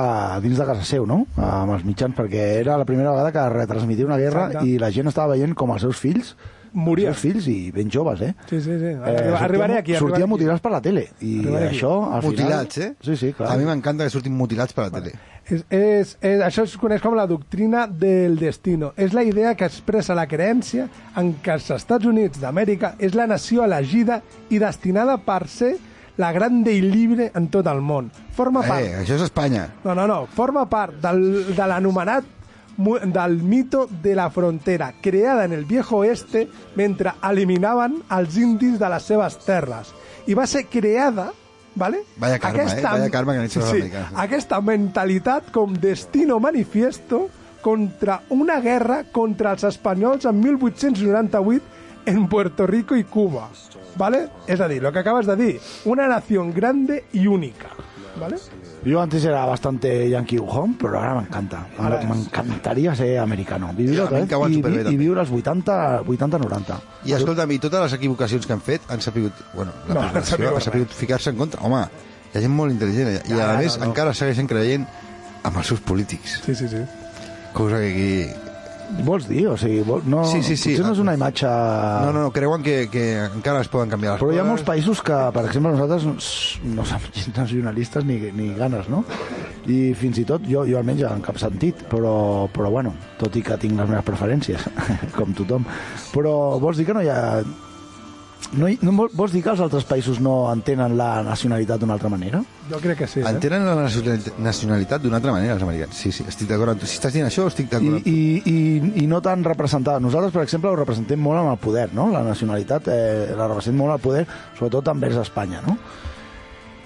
Speaker 3: dins de casa seu, no? Amb els mitjans, perquè era la primera vegada que retransmitia una guerra
Speaker 2: Exacte.
Speaker 3: i la gent estava veient com els seus fills
Speaker 2: Moria.
Speaker 3: Els seus fills i ben joves, eh?
Speaker 2: Sí, sí, sí.
Speaker 3: sortia-
Speaker 2: Arriba- arribaré aquí.
Speaker 3: Sortia
Speaker 2: arribaré aquí.
Speaker 3: mutilats per la tele. I
Speaker 2: Arribaré aquí.
Speaker 3: això, al
Speaker 4: Mutilats, eh?
Speaker 3: final... Sí, sí, clar.
Speaker 4: A mi m'encanta que surtin mutilats per la tele.
Speaker 2: És, és, és, això es coneix com la doctrina del destino. És la idea que expressa la creència en què els Estats Units d'Amèrica és la nació elegida i destinada per ser la grande i libre en tot el món. Forma part...
Speaker 4: Eh, això és Espanya.
Speaker 2: No, no, no. Forma part del, de l'anomenat mu- del mito de la frontera, creada en el viejo oeste mentre eliminaven els indis de les seves terres. I va ser creada, ¿vale?
Speaker 4: Vaya karma, eh? Vaya karma que han hecho los americanos. eh.
Speaker 2: Aquesta mentalitat com destino manifiesto contra una guerra contra els espanyols en 1898 en Puerto Rico i Cuba. ¿Vale? És a dir, lo que acabes de dir, una nació grande i única. ¿Vale?
Speaker 3: Yo antes era bastante yankee ujón, pero ahora me encanta. Ahora me encantaría ser americano. Vivir
Speaker 4: A
Speaker 3: otra
Speaker 4: mi em
Speaker 3: vez
Speaker 4: cauen
Speaker 3: y,
Speaker 4: superbé,
Speaker 3: vi-
Speaker 4: també.
Speaker 3: i viure els 80, 80 90.
Speaker 4: I escolta'm, i totes les equivocacions que han fet han sabut... Bueno, la
Speaker 2: No,
Speaker 4: no,
Speaker 2: han sabut
Speaker 4: ha sabut ficar-se en contra. Home, hi ha gent molt intel·ligent eh? i, a
Speaker 2: Ja, no,
Speaker 4: més
Speaker 2: no.
Speaker 4: encara segueixen creient amb els seus polítics.
Speaker 2: Sí, sí, sí.
Speaker 4: Cosa que aquí...
Speaker 3: Vols dir? O sigui, vol, no,
Speaker 4: Sí, sí, sí.
Speaker 3: potser no és una imatge... Ah.
Speaker 4: No, no, no creuen que, que encara es poden canviar les
Speaker 3: Però hi ha
Speaker 4: coses.
Speaker 3: molts països que, per exemple, nosaltres no s- no som gens nacionalistes ni, ni ganes, no? I fins i tot, jo, jo almenys en cap sentit, però, però bueno, tot i que tinc les meves preferències, com tothom. Però vols dir que no hi ha... No, hi, no vol- vols dir que els altres països no entenen la nacionalitat d'una altra manera?
Speaker 2: Jo crec que sí, eh?
Speaker 4: Entenen la nacionalitat- nacionalitat d'una altra manera, els americans. Sí, sí, estic d'acord amb tu. Si estàs dient això,
Speaker 3: I,
Speaker 4: estic d'acord amb tu.
Speaker 3: i, i, i no tan representada. Nosaltres, per exemple, ho representem molt amb el poder, no? La nacionalitat eh, la representem molt al poder, sobretot envers Espanya, no?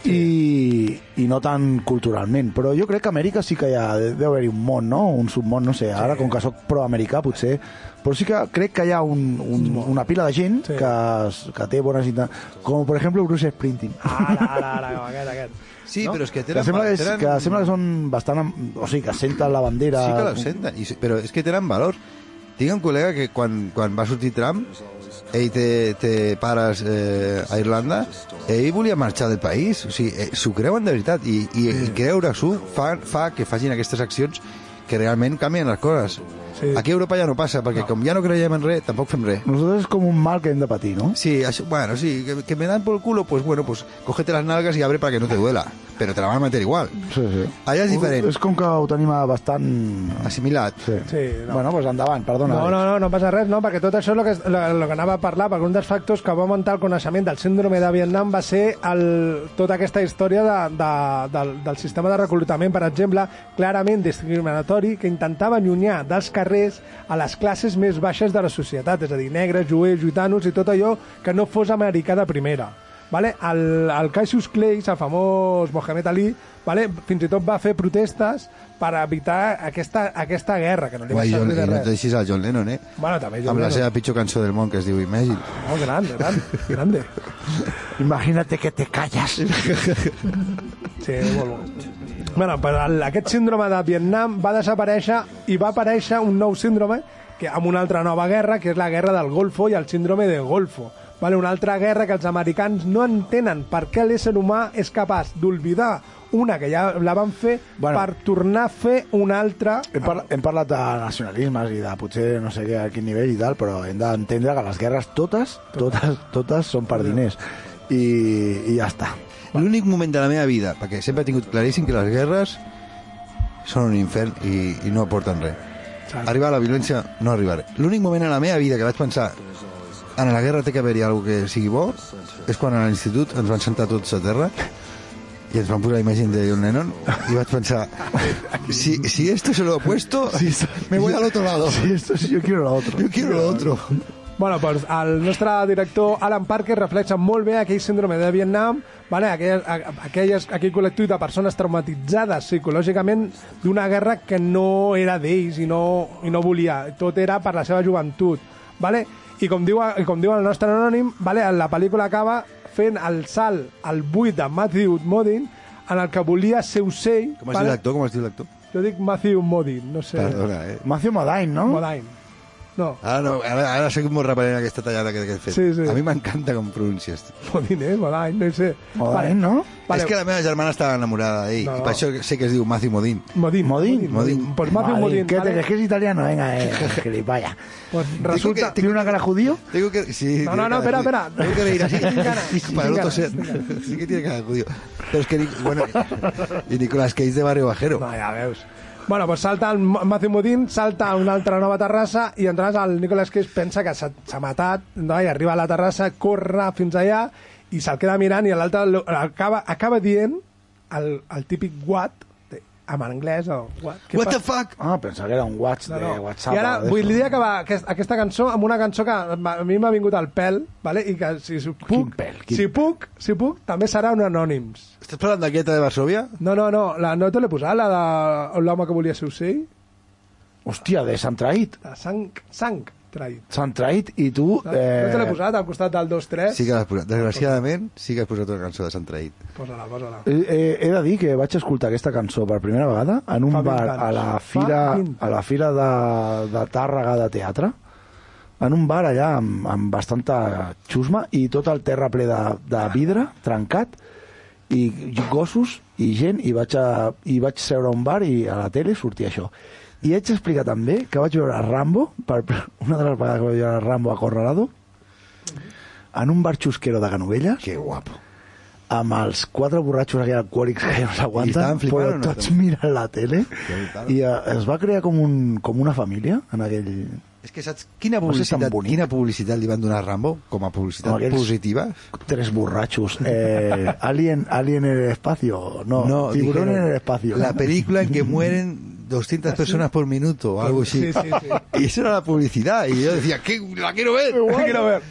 Speaker 3: I, i no tan culturalment però jo crec que a Amèrica sí que hi ha deu haver-hi un món, no? un submón, no sé ara com que sóc proamericà potser però sí que crec que hi ha un, un, una pila de gent
Speaker 2: Sí.
Speaker 3: que, es- que té bones intencions com per exemple Bruce Springsteen
Speaker 2: Ara, ara, ara, com aquest, aquest.
Speaker 4: Sí,
Speaker 3: no?
Speaker 4: però és que tenen...
Speaker 3: que, sembla que, és,
Speaker 4: tenen-
Speaker 3: que sembla que són bastant am- o sigui que senten la bandera
Speaker 4: Sí que l'absenten, i sí- però és que tenen valor. Tinc un col·lega que quan, quan va sortir Trump, ell té, té pares eh, a Irlanda, ell volia marxar del país, o sigui, eh, s'ho creuen de veritat, i, i, i creure-s'ho fa, fa que facin aquestes accions que realment canvien les coses.
Speaker 2: Sí.
Speaker 4: Aquí a Europa ja no passa, perquè no. com ja no creiem en res, tampoc fem res.
Speaker 3: Nosaltres és com un mal que hem de patir, no?
Speaker 4: Sí, això, bueno, sí, que, que me dan por el culo, pues bueno, pues cógete las nalgas y abre para que no te duela, pero te la van a meter igual.
Speaker 3: Sí, sí. Oh,
Speaker 4: Allà és diferent,
Speaker 3: És com que ho tenim a bastant...
Speaker 4: assimilat.
Speaker 3: Sí.
Speaker 2: Sí, no.
Speaker 3: Bueno, doncs endavant, perdona.
Speaker 2: No,
Speaker 3: Àlex.
Speaker 2: no, no, no passa res, no, perquè tot això és el que, lo, lo que anava a parlar, perquè un dels factors que va augmentar el coneixement del síndrome de Vietnam va ser el, tota aquesta història de, de, del, del sistema de reclutament, per exemple, clarament discriminatori, que intentava allunyar dels carrers a les classes més baixes de la societat, és a dir, negres, jueus, gitanos i tot allò que no fos americà de primera. Vale? El, el Cassius Clay, el famós Mohamed Ali, vale? fins i tot va fer protestes per evitar aquesta, aquesta guerra, que no li va
Speaker 4: Guai, John,
Speaker 2: servir
Speaker 4: i
Speaker 2: de
Speaker 4: no
Speaker 2: res.
Speaker 4: et deixis al John Lennon, eh?
Speaker 2: Bueno, també jo...
Speaker 4: Amb la
Speaker 2: bueno,
Speaker 4: seva pitjor cançó del món, que es diu Imagine.
Speaker 2: Oh, grande, grande, grande.
Speaker 3: Imagínate que te callas.
Speaker 2: Sí, molt bo. Bueno, però el- aquest síndrome de Vietnam va desaparèixer i va aparèixer un nou síndrome que amb una altra nova guerra, que és la guerra del Golfo i el síndrome de Golfo. Vale, una altra guerra que els americans no entenen per què l'ésser humà és capaç d'olvidar una que ja la van fer bueno.
Speaker 3: Bueno.
Speaker 2: per tornar a fer una altra...
Speaker 3: Hem, parla, hem parlat de nacionalismes i de potser no sé què, a quin nivell i tal, però hem d'entendre que les guerres totes, totes, totes són per diners. I, i ja està.
Speaker 4: L'únic moment de la meva vida, perquè sempre he tingut claríssim que les guerres són un infern i, i no aporten res. Arribar a la violència no arribaré. L'únic moment a la meva vida que vaig pensar en la guerra té que haver-hi alguna que sigui bo és quan a l'institut ens van sentar tots a terra i ens van posar imatge de John Lennon i vaig pensar si, si esto se lo he puesto me voy al otro lado
Speaker 3: Sí, esto es, yo quiero lo otro.
Speaker 4: yo quiero lo otro
Speaker 2: Bueno, doncs el nostre director Alan Parker reflexa molt bé aquell síndrome de Vietnam, vale? aquell, a- aquelles, aquell col·lectiu de persones traumatitzades psicològicament d'una guerra que no era d'ells i, no, i no volia, tot era per la seva joventut. Vale? I com diu, i com diu el nostre anònim, vale? la pel·lícula acaba fent el salt al buit de Matthew Modine en el que volia ser ocell.
Speaker 4: com es diu l'actor? com es diu l'actor?
Speaker 2: Jo dic Matthew Modine, no sé.
Speaker 4: perdona eh
Speaker 3: Matthew Modine, no?
Speaker 2: Modine. No.
Speaker 4: Ara, no, ara, ara seguim molt repelent aquesta tallada que, que he fet.
Speaker 2: Sí, sí.
Speaker 4: A mi m'encanta com pronuncies.
Speaker 2: Modinés, Modany, eh? no hi sé.
Speaker 4: Modany,
Speaker 2: no?
Speaker 4: Vale. És que la meva germana estava enamorada d'ell,
Speaker 2: No,
Speaker 4: no,
Speaker 2: no.
Speaker 4: i per això sé que es diu Maci Modín.
Speaker 2: Modín. Modín.
Speaker 4: Modín.
Speaker 2: Pues Maci
Speaker 3: Madre,
Speaker 2: Modín,
Speaker 3: ¿Qué
Speaker 2: ¿vale?
Speaker 3: te crees que es italiano? Venga, eh, gilipollas.
Speaker 2: Pues
Speaker 3: Digo
Speaker 2: resulta...
Speaker 3: que- ¿Tiene una cara judío?
Speaker 4: Digo que... Sí,
Speaker 2: No,
Speaker 4: tiene
Speaker 2: no, no, espera,
Speaker 4: cara
Speaker 2: espera.
Speaker 4: de judío. Tengo que venir así.
Speaker 2: Sin cara,
Speaker 4: Y
Speaker 2: sin
Speaker 4: para el
Speaker 2: cara,
Speaker 4: otro ser.
Speaker 2: sin cara.
Speaker 4: Sí que tiene cara de judío. Pero es que, ni- bueno, y Nicolás Cage de Barrio Bajero.
Speaker 2: No, ja veus. Bueno, pues salta el Ma- Matthew Modín, salta a una altra nova terrassa i entraràs el Nicolas Cage pensa que s'ha s'ha matat, no? i arriba a la terrassa, corre fins allà i se'l queda mirant i l'altre lo- acaba, acaba dient el, el típic what, de- en anglès o what. què
Speaker 4: What
Speaker 2: passa?
Speaker 4: the fuck?
Speaker 3: Ah, pensaba que era un watch
Speaker 2: No,
Speaker 3: de
Speaker 2: no.
Speaker 3: Eh, WhatsApp.
Speaker 2: I ara
Speaker 3: o de
Speaker 2: vull
Speaker 3: eso.
Speaker 2: dir acabar aquesta, aquesta cançó amb una cançó que m'ha- a mi m'ha vingut al pèl, vale? i que si puc,
Speaker 3: Quin pèl, quin-
Speaker 2: si puc, si puc, també serà un anònims.
Speaker 4: ¿Estás hablando aquí de Varsovia?
Speaker 2: No, no, no, la, no te l'he posat, la de l'home que volia ser ocell,
Speaker 3: Hòstia, de Sant Traït.
Speaker 2: la sang, sang traït.
Speaker 3: Sant Traït i tu...
Speaker 2: No, no te l'he
Speaker 3: Eh,
Speaker 2: posat al costat del 2-3?
Speaker 4: Sí que l'has posat. Desgraciadament, sí que has posat una cançó de Sant Traït.
Speaker 2: Posa-la, posa-la.
Speaker 3: eh, eh, he de dir que vaig escoltar aquesta cançó per primera vegada en un
Speaker 2: Fa vint
Speaker 3: bar
Speaker 2: anys.
Speaker 3: a la
Speaker 2: Fa
Speaker 3: fira,
Speaker 2: vint.
Speaker 3: a la fira de, de Tàrrega de teatre en un bar allà amb, amb bastanta xusma i tot el terra ple de, de vidre trencat i gossos i gent i vaig, a, i vaig seure a un bar i a la tele sortia això i haig d'explicar també que vaig veure Rambo per una de les vegades que vaig veure Rambo a Corralado en un bar xusquero de Ganovelles
Speaker 4: Que guapo.
Speaker 3: amb els quatre borratxos aquí alcohòlics que ja no
Speaker 4: I estaven
Speaker 3: s'aguanten,
Speaker 4: flipant
Speaker 3: però
Speaker 4: o no?
Speaker 3: tots miren la tele
Speaker 4: brutal.
Speaker 3: i eh, es va crear com, un, com una família en aquell...
Speaker 4: És que saps quina
Speaker 3: No sé si tan
Speaker 4: publicitat,
Speaker 3: bonic.
Speaker 4: quina publicitat li van donar a Rambo com a publicitat
Speaker 3: Com aquells-
Speaker 4: positiva?
Speaker 3: Tres borratxos. Eh, alien, alien en el espacio. No, tiburón
Speaker 4: dijeron,
Speaker 3: en el espacio.
Speaker 4: La película en que mueren 200 personas por minuto o algo así.
Speaker 2: Ah, Sí, sí, sí.
Speaker 4: Y esa era la publicidad. Y yo decía, ¿qué? ¡La quiero ver! Ah,
Speaker 2: Quiero ver.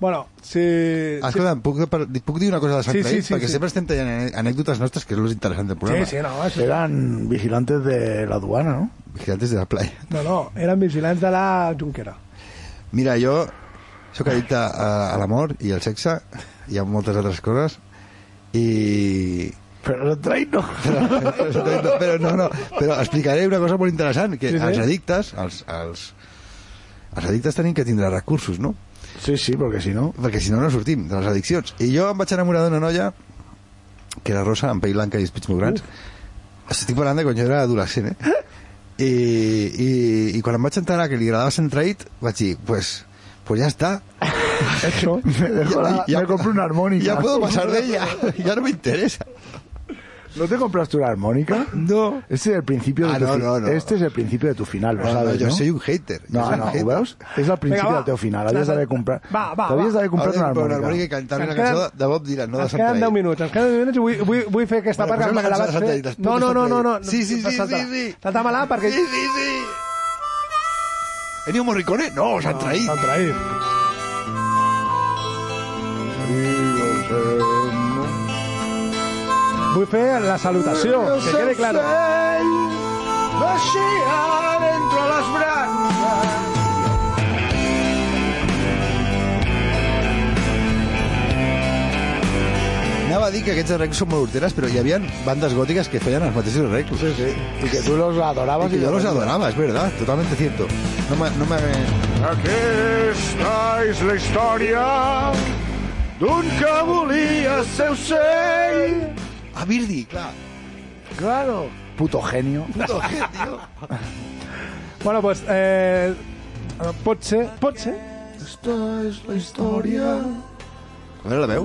Speaker 2: Bueno, si... si-
Speaker 4: Escolta'm, puc, per- puc dir una cosa eh? de Sant
Speaker 2: Sí,
Speaker 4: sí,
Speaker 2: sí, sí,
Speaker 4: perquè
Speaker 2: sí.
Speaker 4: sempre estem tallant ane- anècdotes nostres, que és l'interessant del
Speaker 2: Sí,
Speaker 4: programa.
Speaker 2: sí, no, sí.
Speaker 3: Eren vigilantes de la aduana, no?
Speaker 4: Gigantes de la playa.
Speaker 2: No, no, eren vigilants de la Junquera.
Speaker 4: Mira, jo sóc addicte a, a l'amor i al sexe i a moltes altres coses i...
Speaker 3: Però el train no.
Speaker 4: però, però no, no, però explicaré una cosa molt interessant, que
Speaker 2: Sí,
Speaker 4: sí,
Speaker 2: sí.
Speaker 4: sí. els addictes, els, els, els addictes tenim que tindre recursos, no?
Speaker 3: Sí, sí, perquè si no...
Speaker 4: Perquè si no, no sortim de les addiccions. I jo em vaig enamorar d'una noia que era rosa, amb pell blanca i els pits molt grans. Estic parlant de quan jo era adolescent, eh? I, i, i quan em vaig enterar que li agradava Sant Traït, vaig dir, pues, pues ja està.
Speaker 3: Eso. Me, dejo la, me compro una armónica.
Speaker 4: Ja puedo pasar d'ella, ja no m'interessa.
Speaker 3: ¿No te compras tú la armónica?
Speaker 4: No.
Speaker 3: Este es el principio de
Speaker 4: Ah,
Speaker 3: tu
Speaker 4: no,
Speaker 3: fi-
Speaker 4: no, no.
Speaker 3: Este es el principio de tu final, lo
Speaker 4: No, no,
Speaker 3: sabes,
Speaker 4: jo
Speaker 3: ¿no?
Speaker 4: soy un hater. jo
Speaker 3: No,
Speaker 4: soy un
Speaker 3: no,
Speaker 4: hater.
Speaker 3: ho veus? És el principi
Speaker 2: Vinga, va.
Speaker 3: del teu final. Havies
Speaker 2: Clar,
Speaker 3: d'haver
Speaker 2: clar.
Speaker 3: comprat...
Speaker 2: Va, va,
Speaker 3: T'havies
Speaker 2: va.
Speaker 3: d'haver comprat una
Speaker 4: Haurem de comprar una armònica i
Speaker 3: harmònica.
Speaker 4: cantar-li
Speaker 2: Ens
Speaker 4: la
Speaker 2: queden-
Speaker 4: cançó de- de Bob Dylan, no de
Speaker 2: ens
Speaker 4: Sant
Speaker 2: queden 10
Speaker 4: Traït.
Speaker 2: minuts, ens queden 10 minuts i vull, vull, vull fer aquesta
Speaker 4: Bueno,
Speaker 2: part que
Speaker 4: posem la
Speaker 2: me la
Speaker 4: cançó
Speaker 2: vas
Speaker 4: de
Speaker 2: fer...
Speaker 4: Sant Traït,
Speaker 2: No, no, no, no, no.
Speaker 4: Sí, sí, sí,
Speaker 2: Salta-la.
Speaker 4: sí, sí.
Speaker 2: Salta-me-la perquè...
Speaker 4: Sí, sí, sí. Ennio Morricone? No, Sant Traït.
Speaker 2: S'han traït. Vull fer la salutació, que quede claro.
Speaker 4: Anava a dir que aquests arreglos són molt horteres, però hi havia bandes gòtiques que feien els mateixos arreglos.
Speaker 3: Sí, sí. I que tu los adorabas.
Speaker 4: Y que yo los adoraba, es verdad, totalmente cierto. No me... No me...
Speaker 11: Aquí està és la història d'un que volia ser ocell.
Speaker 4: Ah, Birdi, clar.
Speaker 3: Claro. Puto genio.
Speaker 4: Puto gen, tio.
Speaker 2: Bueno, pues, eh, pot ser, pot ser.
Speaker 3: Esta és la història...
Speaker 4: A veure la veu.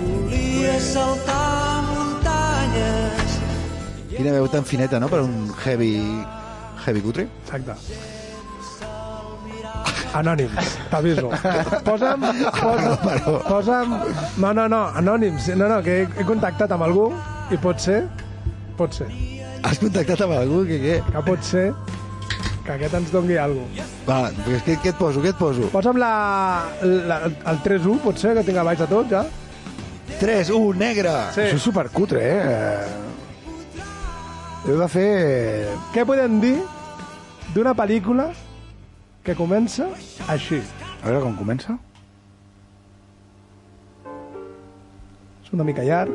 Speaker 12: Volia saltar muntanyes
Speaker 4: Quina veu tan fineta, no?, per un heavy... Heavy cutre.
Speaker 2: Exacte. Anònims, t'aviso. Posa'm, posa'm, posa'm... No, no, no, anònims. No, no, que he, he contactat amb algú i pot ser, pot ser,
Speaker 4: Has contactat amb algú que què?
Speaker 2: que pot ser que aquest ens dongui alguna cosa.
Speaker 4: Va, doncs què, què et poso, què et poso?
Speaker 2: Posa'm la, la, el 3-1, potser, que tinc a baix de tot, ja.
Speaker 4: 3, 1, negre!
Speaker 2: Sí.
Speaker 3: Això és supercutre, eh? Heu de fer...
Speaker 2: Què podem dir d'una pel·lícula que comença així?
Speaker 3: A veure com comença.
Speaker 2: És una mica llarg.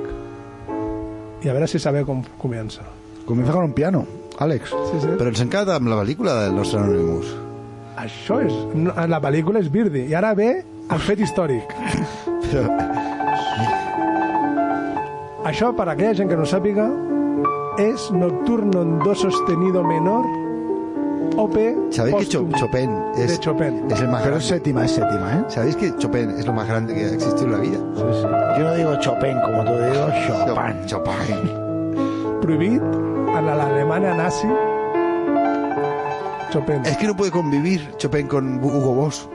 Speaker 2: I a veure si sabeu com comença.
Speaker 3: Comienza con un piano.
Speaker 4: Àlex. Sí, sí. Però ens hem quedat amb la pel·lícula del nostre Anonymous.
Speaker 2: Això és... no, La pel·lícula és Birdy. I ara ve el fet històric.
Speaker 4: Però...
Speaker 2: Això, per aquella gent que no sàpiga, és Nocturno en Do Sostenido Menor, OP
Speaker 4: ¿Sabéis que Cho-
Speaker 2: póstum
Speaker 4: Chopin es,
Speaker 2: de Chopin.
Speaker 4: es el más
Speaker 10: Pero es
Speaker 4: grande?
Speaker 10: séptima, es séptima, ¿eh?
Speaker 4: ¿Sabéis que Chopin es lo más grande que ha existido en la vida?
Speaker 10: Yo no digo Chopin, como tú digo Chopin.
Speaker 4: Chopin.
Speaker 2: Prohibit a la, la alemana nazi Chopin.
Speaker 4: Es que no puede convivir Chopin con Hugo Boss.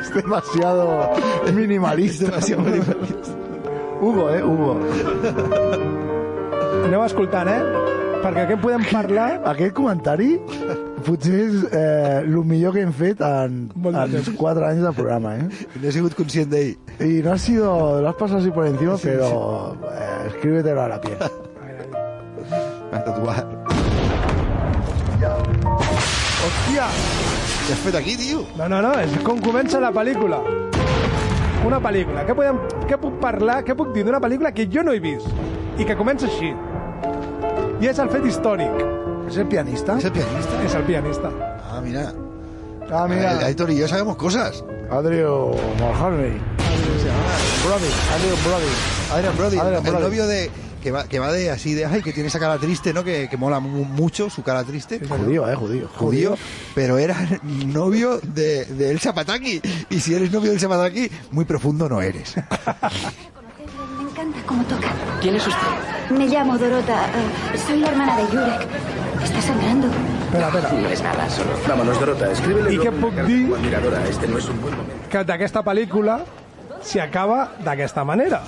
Speaker 10: Es demasiado minimalista.
Speaker 4: demasiado
Speaker 10: Hugo, ¿eh? Hugo.
Speaker 2: Aneu escoltant, eh? Perquè què en podem parlar
Speaker 10: Aquell comentari potser és eh, el millor que hem fet en,
Speaker 2: Molt de
Speaker 10: en
Speaker 2: temps.
Speaker 10: 4 anys de programa, eh?
Speaker 4: No he sido consciente ahí.
Speaker 10: Y no ha sido... Lo has pasado así por encima, pero eh, escríbetelo a la piel.
Speaker 4: Me ha tatuado.
Speaker 2: Hòstia!
Speaker 4: ¿Qué has fet aquí, tío?
Speaker 2: No, no, no, és com comença la pel·lícula. Una pel·lícula. Què, podem, què puc parlar, què puc dir d'una pel·lícula que jo no he vist i que comença així? I és el fet històric.
Speaker 10: ¿Es el pianista?
Speaker 4: ¿Es el pianista?
Speaker 2: És el pianista.
Speaker 4: Ah, mira.
Speaker 10: Ah, mira.
Speaker 4: Ah, Aitor y yo sabemos cosas.
Speaker 10: Adrian Mulroney. Brody, Adrian Brody.
Speaker 4: Adrian Brody,
Speaker 10: Adrian
Speaker 4: el
Speaker 10: Brody.
Speaker 4: novio de... Que va, que va de así de, ay, que tiene esa cara triste, ¿no? Que, que mola mu- mucho su cara triste.
Speaker 10: Judío, eh, judío.
Speaker 4: judío, pero era novio de, de Elsa Pataki. Y si eres novio de Elsa Pataki, muy profundo no eres.
Speaker 8: Me encanta cómo toca.
Speaker 13: ¿Quién es usted?
Speaker 8: Me llamo Dorota. eh, soy la hermana de Yurek. Está sangrando.
Speaker 2: Espera, espera.
Speaker 13: No es nada, solo.
Speaker 6: Vámonos, Dorota, escríbele.
Speaker 2: I què puc dir
Speaker 6: Admiradora, este no es un buen momento.
Speaker 2: que d'aquesta pel·lícula s'hi acaba d'aquesta manera?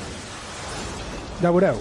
Speaker 2: Ja veureu.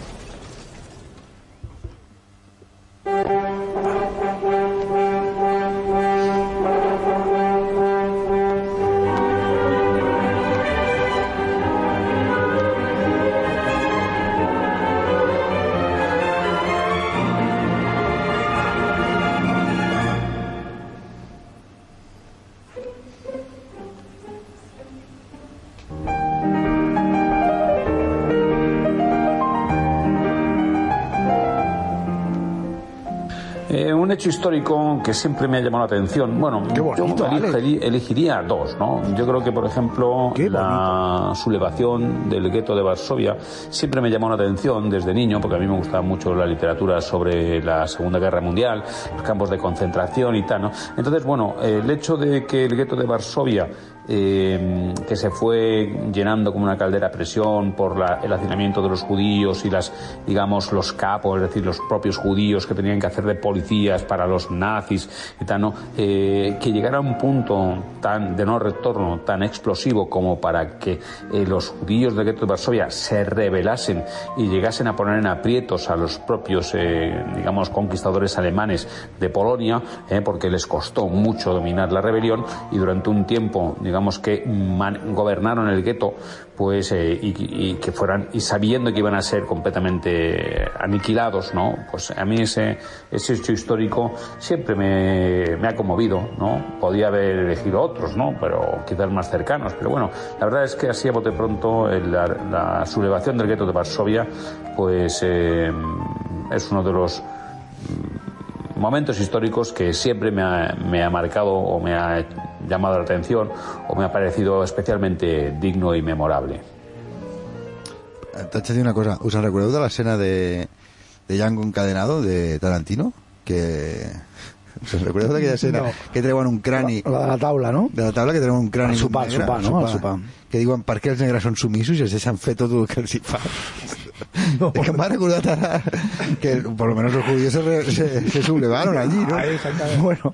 Speaker 9: Eh, un hecho histórico que siempre me ha llamado la atención. Bueno,
Speaker 10: bonito,
Speaker 9: yo elige- elegiría dos, ¿no? Yo creo que, por ejemplo,
Speaker 10: Qué
Speaker 9: la sublevación del gueto de Varsovia siempre me llamó la atención desde niño, porque a mí me gustaba mucho la literatura sobre la Segunda Guerra Mundial, los campos de concentración y tal, ¿no? Entonces, bueno, eh, el hecho de que el gueto de Varsovia eh, que se fue llenando como una caldera a presión por la- el hacinamiento de los judíos y las, digamos, los capos, es decir, los propios judíos que tenían que hacer de policías para los nazis y tal, ¿no? Eh, que llegara a un punto tan de no retorno, tan explosivo como para que eh, los judíos del gueto de Varsovia se rebelasen y llegasen a poner en aprietos a los propios, eh, digamos, conquistadores alemanes de Polonia, eh, porque les costó mucho dominar la rebelión y durante un tiempo, digamos que man- gobernaron el gueto, pues eh, y, y que fueran y sabiendo que iban a ser completamente aniquilados, ¿no? Pues a mí ese, ese hecho histórico siempre me, me ha conmovido, ¿no? Podía haber elegido otros, ¿no? Pero quizás más cercanos. Pero bueno, la verdad es que así a bote pronto eh, la, la sublevación del gueto de Varsovia, pues eh, es uno de los momentos históricos que siempre me ha, me ha marcado o me ha llamado la atención o me ha parecido especialmente digno y memorable.
Speaker 4: T'haig de dir una cosa. ¿Us en recordeu de l'escena de, de Django encadenado de Tarantino? Que... ¿Us en recordeu d'aquella escena? Que treuen un crani...
Speaker 10: La de la taula, no?
Speaker 4: de la taula que tenen un crani
Speaker 10: El sopar,
Speaker 4: negre,
Speaker 10: el sopar, no?
Speaker 4: el
Speaker 10: El sopar.
Speaker 4: que diuen per què els negres són sumissos i els deixen fer tot el que els hi fa no. que em va recordar ara que por lo menos los judíos se, re- se, se sublevaron allí ¿no?
Speaker 2: Ahí, exactament.
Speaker 4: bueno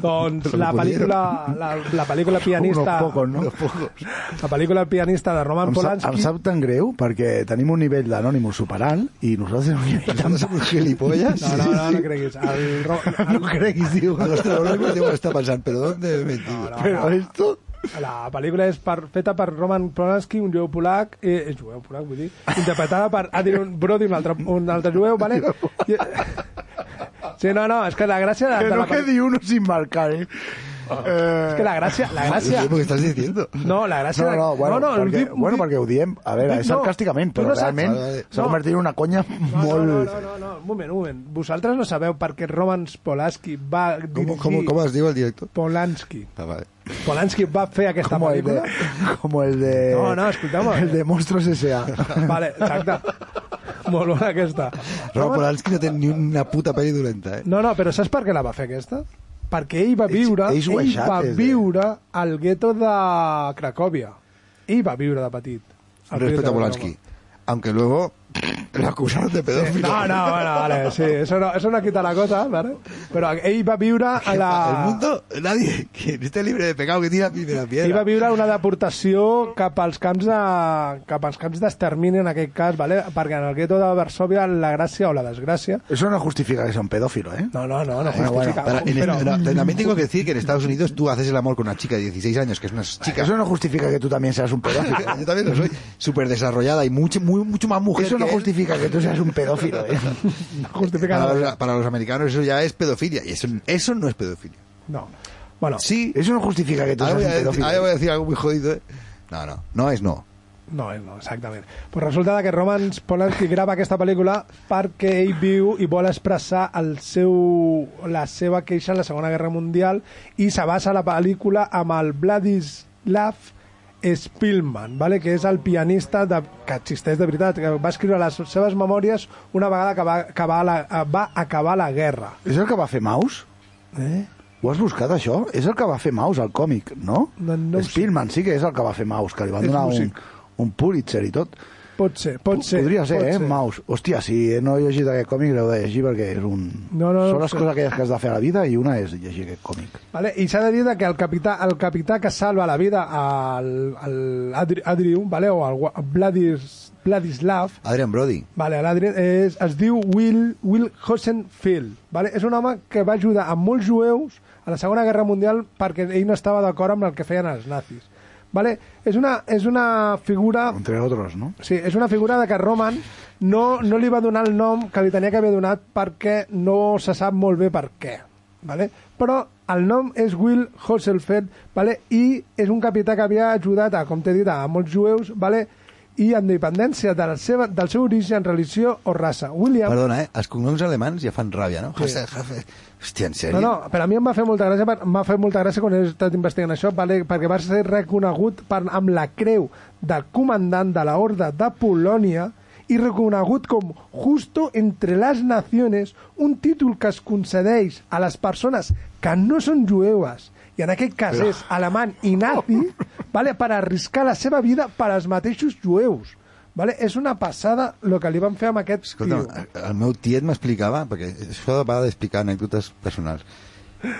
Speaker 2: Doncs
Speaker 4: Se lo
Speaker 2: la
Speaker 4: pudieron.
Speaker 2: pel·lícula, la, la pel·lícula pianista...
Speaker 10: Unos pocos, ¿no?
Speaker 4: los pocos
Speaker 2: La pel·lícula El pianista de Roman
Speaker 10: Em sap,
Speaker 2: Polanski...
Speaker 10: em sap tan greu perquè tenim un nivell d'anònimus superant i nosaltres tenim un nivell
Speaker 4: no som uns gilipolles
Speaker 2: No, no, no, no creguis. El, Ro-
Speaker 10: No creguis, tio.
Speaker 4: a los trabajadores debo estar pensant però ¿dónde he metido?
Speaker 10: Però esto...
Speaker 2: la pel·lícula és per, feta per Roman Polanski, un jueu polac, eh, eh, jueu polac, vull dir, interpretada per Adrian Brody, un altre, un altre jueu, vale? I, sí, no, no, és que la gràcia
Speaker 10: Que
Speaker 2: de,
Speaker 10: no
Speaker 2: de Ah, la pel·lícula...
Speaker 10: quedi uno sin marcar, eh?
Speaker 2: És Ah. que la gràcia... La gràcia...
Speaker 4: No sé què estàs diciendo.
Speaker 2: No, la gràcia...
Speaker 3: No,
Speaker 2: de-
Speaker 3: no, bueno, no, no,
Speaker 2: el
Speaker 3: perquè,
Speaker 2: tip-
Speaker 3: bueno,
Speaker 2: tip-
Speaker 3: perquè ho diem, a veure,
Speaker 2: dic
Speaker 3: és
Speaker 2: no.
Speaker 3: sarcàsticament,
Speaker 2: Tu
Speaker 3: però
Speaker 2: no saps-
Speaker 3: realment
Speaker 2: Vale, vale.
Speaker 3: s'ha
Speaker 2: No.
Speaker 3: convertit en una conya
Speaker 2: No, no,
Speaker 3: molt...
Speaker 2: no, no, no, no, un moment, un moment. Vosaltres no sabeu per què Roman Polanski va
Speaker 4: ¿Cómo,
Speaker 2: dirigir...
Speaker 4: cómo, ¿Cómo es digo el directo?
Speaker 2: Polanski.
Speaker 4: Ah, vale.
Speaker 2: Polanski va fer aquesta
Speaker 3: Como el de...
Speaker 2: pel·lícula...
Speaker 3: Como el de...
Speaker 2: No, no, escolteu-me.
Speaker 3: El de Monstruos S.A.
Speaker 2: Vale, exacte. Molt bona aquesta.
Speaker 4: Rob Polanski no tiene ni una puta peli dolenta, eh?
Speaker 2: No, no, però saps per què la va fer aquesta? Perquè ell va
Speaker 3: Ells-
Speaker 2: viure,
Speaker 3: ells ho
Speaker 2: ell
Speaker 3: aixat,
Speaker 2: va
Speaker 3: és de-
Speaker 2: viure al gueto de Cracòvia. Ell va viure de petit. al gueto
Speaker 4: Respeto a
Speaker 2: de
Speaker 4: Polanski. Aunque luego lo acusaron de
Speaker 2: Cracòvia.
Speaker 4: pedófilo.
Speaker 2: No, no, bueno, vale, sí, eso no, eso no quita la cosa, ¿vale? Però ell va viure a la...
Speaker 4: El mundo, nadie que esté libre de pecado que tira la primera
Speaker 2: Ell va
Speaker 4: piedra.
Speaker 2: viure una deportació cap als camps de, cap als camps d'extermini en aquest cas, vale? perquè en el gueto de Varsovia la gràcia o la desgràcia
Speaker 3: Eso no justifica que sea un pedófilo, ¿eh?
Speaker 2: no, no, no, no
Speaker 4: Ah, Bueno, bueno,
Speaker 2: justifica.
Speaker 4: para- en-
Speaker 2: però,
Speaker 4: no, también tengo que decir que en Estados Unidos tú haces el amor con una chica de 16 años, que es una chica.
Speaker 3: Eso no justifica que tú también seas un pedófilo.
Speaker 4: ¿eh? Yo también lo soy. Súper desarrollada y mucho, muy, mucho más mujer.
Speaker 3: Eso no
Speaker 4: que él.
Speaker 3: justifica que tú seas un pedófilo, ¿eh?
Speaker 2: no justifica
Speaker 4: Para
Speaker 2: nada.
Speaker 4: los, para los americanos eso ya es pedofilia. Y eso, eso no es pedofilia.
Speaker 2: No. Bueno,
Speaker 4: Sí,
Speaker 3: Eso no justifica que tú
Speaker 4: ahora
Speaker 3: seas un
Speaker 4: voy, a decir, ahora voy
Speaker 3: pedófilo.
Speaker 4: a decir algo muy jodido. ¿eh? No, no, no es no.
Speaker 2: no, eh, no, exactament. Pues resulta que Roman Polanski grava aquesta pel·lícula perquè ell viu i vol expressar el seu, la seva queixa en la Segona Guerra Mundial i se basa la pel·lícula amb el Vladislav Spielman, vale? que és el pianista de, que existeix de veritat, que va escriure les seves memòries una vegada que va acabar la, eh, va acabar la guerra.
Speaker 3: ¿Es el que va a fer Maus?
Speaker 2: Eh?
Speaker 3: Ho has buscat, això? És el que va fer Maus, al còmic, no?
Speaker 2: No, no ho sé.
Speaker 3: Spielman sí que és el que va fer Maus, que li van
Speaker 2: És
Speaker 3: donar un,
Speaker 2: músic.
Speaker 3: un Pulitzer i tot.
Speaker 2: Pot ser, pot ser.
Speaker 3: Podria ser,
Speaker 2: pot
Speaker 3: eh, Maus? Hòstia, si no heu llegit aquest còmic, l'heu de llegir perquè és un...
Speaker 2: No, no, no
Speaker 3: Són les
Speaker 2: sé.
Speaker 3: coses aquelles que has de fer a la vida i una és llegir aquest còmic.
Speaker 2: Vale? I s'ha de dir que el capità, el capità que salva la vida al, al Adri, Adriu, vale? o al gua- Vladis, Vladislav,
Speaker 4: Adrian Brody.
Speaker 2: vale, l'Adri és, es diu Will, Will Hosenfield. Vale? És un home que va ajudar a molts jueus a la Segona Guerra Mundial perquè ell no estava d'acord amb el que feien els nazis. Vale? És, una, és una figura
Speaker 3: Entre altres, no?
Speaker 2: Sí, és una figura de que Roman no, no li va donar el nom que li tenia que haver donat perquè no se sap molt bé per què. Vale? Però el nom és Will Hosselfeld vale? i és un capità que havia ajudat, a, com t'he dit, a molts jueus vale? i en dependència de la seva, del seu origen, religió o raça. William...
Speaker 4: Perdona, eh? Els cognoms alemans ja fan ràbia, no? Sí. Hòstia, en
Speaker 2: No,
Speaker 4: sèrio?
Speaker 2: no, però a mi em va fer molta gràcia, per- m'ha fet molta gràcia quan he estat investigant això, vale, perquè va ser reconegut per, amb la creu del comandant de la Horda de Polònia i reconegut com Justo entre les Naciones, un títol que es concedeix a les persones que no són jueves, i en aquest cas és alemany i nazi, vale, per arriscar la seva vida per als mateixos jueus. Vale? És una passada el que li van fer amb aquest tio.
Speaker 4: Escolta, el meu tiet m'explicava, perquè això va d'explicar anècdotes personals,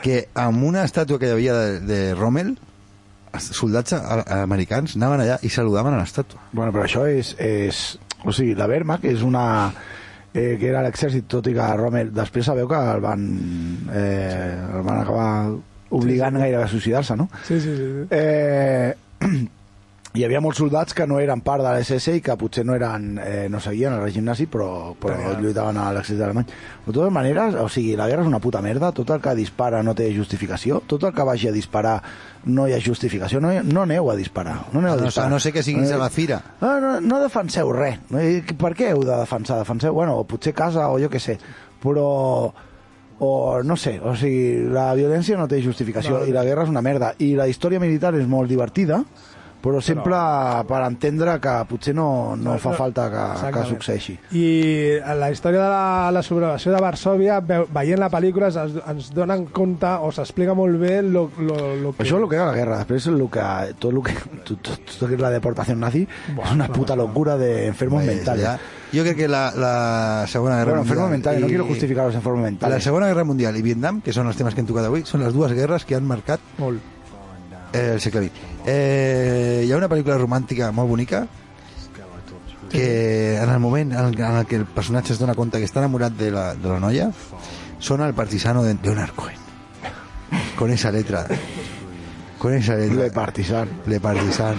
Speaker 4: que amb una estàtua que hi havia de, de Rommel, els soldats a- americans anaven allà i saludaven a l'estàtua.
Speaker 3: Bueno, però això és... és o sigui, la Wehrmacht és una... Eh, que era l'exèrcit, tot i que Rommel després sabeu que el van, eh, el van acabar obligant gairebé a suïcidar-se, no?
Speaker 2: Sí, sí, sí. sí.
Speaker 3: Eh, hi havia molts soldats que no eren part de l'SS i que potser no eren, eh, no seguien el règim nazi, però, però lluitaven a l'exèrcit alemany. De totes maneres, o sigui, la guerra és una puta merda, tot el que dispara no té justificació, tot el que vagi a disparar no hi ha justificació, no, hi- no aneu a disparar. No, Eh, aneu a
Speaker 4: No, no,
Speaker 3: disparar.
Speaker 4: "Ah, no sé que siguis a la fira.
Speaker 3: No, Ah, no, no defenseu res. No, i Per què heu de defensar? Defenseu, bueno, potser casa o jo què sé, però... O no sé, o sigui, la violència no té justificació i la guerra és una merda. I la història militar és molt divertida, però sempre per entendre que potser no, no fa falta que, que
Speaker 2: Exactament.
Speaker 3: succeeixi.
Speaker 2: I a la història de la, la sublevació de Varsovia, ve- veient la pel·lícula, ens, ens donen compte o s'explica molt bé lo, lo, lo que...
Speaker 3: Això és el que era la guerra, després el que, tot el que, tot, tot, tot el que és la deportació nazi és una puta locura de enfermos mentals. eh?
Speaker 4: Ja. Jo crec que la, la Segona Guerra
Speaker 3: Bueno, enfermos mentales, no
Speaker 4: i-
Speaker 3: quiero justificar los enfermos
Speaker 4: La
Speaker 3: mentales.
Speaker 4: Segona Guerra Mundial i Vietnam, que són els temes que hem tocat avui, són les dues guerres que han marcat
Speaker 2: Molt.
Speaker 4: eh, el segle XX. Eh, hi ha una pel·lícula romàntica molt bonica que en el moment en el, en el que el personatge es dona compte que està enamorat de la, de la noia sona el partisano de Leonard Cohen con esa letra con esa letra
Speaker 3: Le Partisan.
Speaker 4: Le Partisan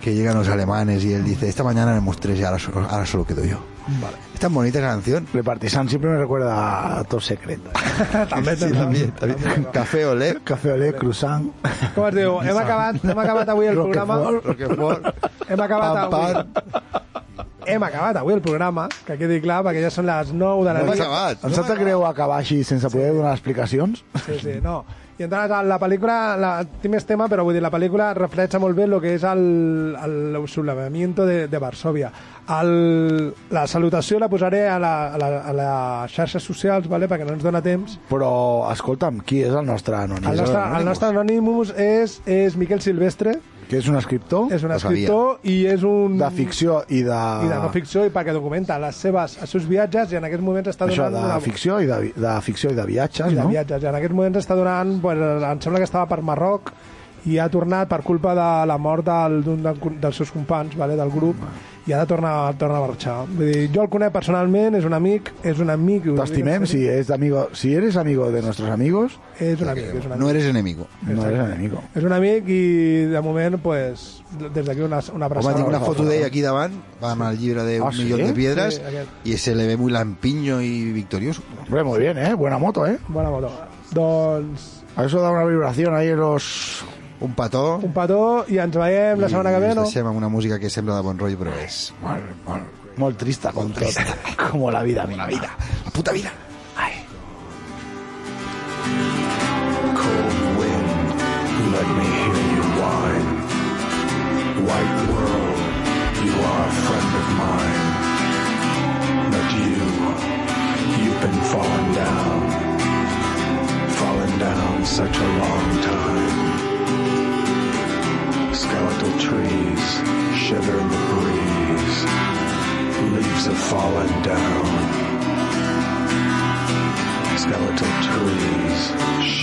Speaker 4: que llegan los alemanes y él dice esta mañana me mostré ya ahora, so- ahora solo quedo yo Vale. Es tan bonita esa canción.
Speaker 3: Repartisan siempre me recuerda a Top Secret.
Speaker 4: També, sí, també, també. Café Olé.
Speaker 3: Café olé, croissant.
Speaker 2: Com es diu? Hem acabat, hem acabat avui el programa.
Speaker 4: Roquefort.
Speaker 2: Hem acabat avui. Hem acabat avui el programa, que quedi clar, perquè ja són les 9 de la
Speaker 4: Hem
Speaker 2: nit.
Speaker 4: acabat.
Speaker 3: Em sap greu ah. acabar així sense poder donar explicacions.
Speaker 2: Sí, sí, no. I entonces la pel·lícula, la, té més tema, però vull dir, la pel·lícula reflexa molt bé el que és el, el sublevamiento de, de Varsovia. El, la salutació la posaré a, la, a, la, a les xarxes socials, vale? perquè no ens dona temps.
Speaker 3: Però, escolta'm, qui és el nostre anònim?
Speaker 2: El nostre, el nostre Anonymous és, és Miquel Silvestre,
Speaker 3: Que és un escriptor
Speaker 2: és un
Speaker 4: Ho sabia.
Speaker 2: escriptor i és un...
Speaker 3: de Ah. ficció i de...
Speaker 2: i de no ficció, i perquè documenta les seves, els seus viatges, i en aquests moments està
Speaker 3: Això,
Speaker 2: donant...
Speaker 3: de
Speaker 2: una-
Speaker 3: ficció i de, vi- de ficció i de viatges,
Speaker 2: i de
Speaker 3: no?
Speaker 2: viatges. I en aquests moments està donant, pues, em sembla que estava per Marroc i ha tornat per culpa de la mort del- d'un del, dels seus companys vale, del grup i ha de tornar, tornar a marxar. Vull dir, jo el conec personalment, és un amic, és un amic... i ho dic
Speaker 3: T'estimem
Speaker 2: en
Speaker 3: si,
Speaker 2: sèrio,
Speaker 3: és amigo, si eres amigo de nostres amigos,
Speaker 2: És un amic, és un amic.
Speaker 4: No eres enemigo.
Speaker 3: no eres enemigo.
Speaker 2: És un amic i de moment, pues, des d'aquí una, una
Speaker 4: Home,
Speaker 2: abraçada.
Speaker 4: tinc una foto d'ell aquí davant, amb el llibre de Un
Speaker 3: Ah, sí?
Speaker 4: millón de piedras,
Speaker 2: Sí, aquest.
Speaker 4: i se le ve muy lampiño y victorioso.
Speaker 3: Hombre, muy bien, ¿eh? Buena moto, ¿eh?
Speaker 2: Bona foto. Doncs
Speaker 3: A eso da una vibración ahí en los...
Speaker 4: Un petó.
Speaker 2: un petó i ens veiem la
Speaker 4: i
Speaker 2: setmana que ve,
Speaker 4: ens
Speaker 2: no?
Speaker 4: deixem amb una música que sembla de bon rotllo, però és...
Speaker 3: Mal, mal, muy triste con todo. Como la vida misma.
Speaker 4: Vida, la puta vida.
Speaker 8: Cold wind, let me hear you whine. White world, you are a friend of mine. But you, you've been falling down. Falling down such a long time. Skeletal trees shiver in the breeze. Leaves have fallen down. Skeletal trees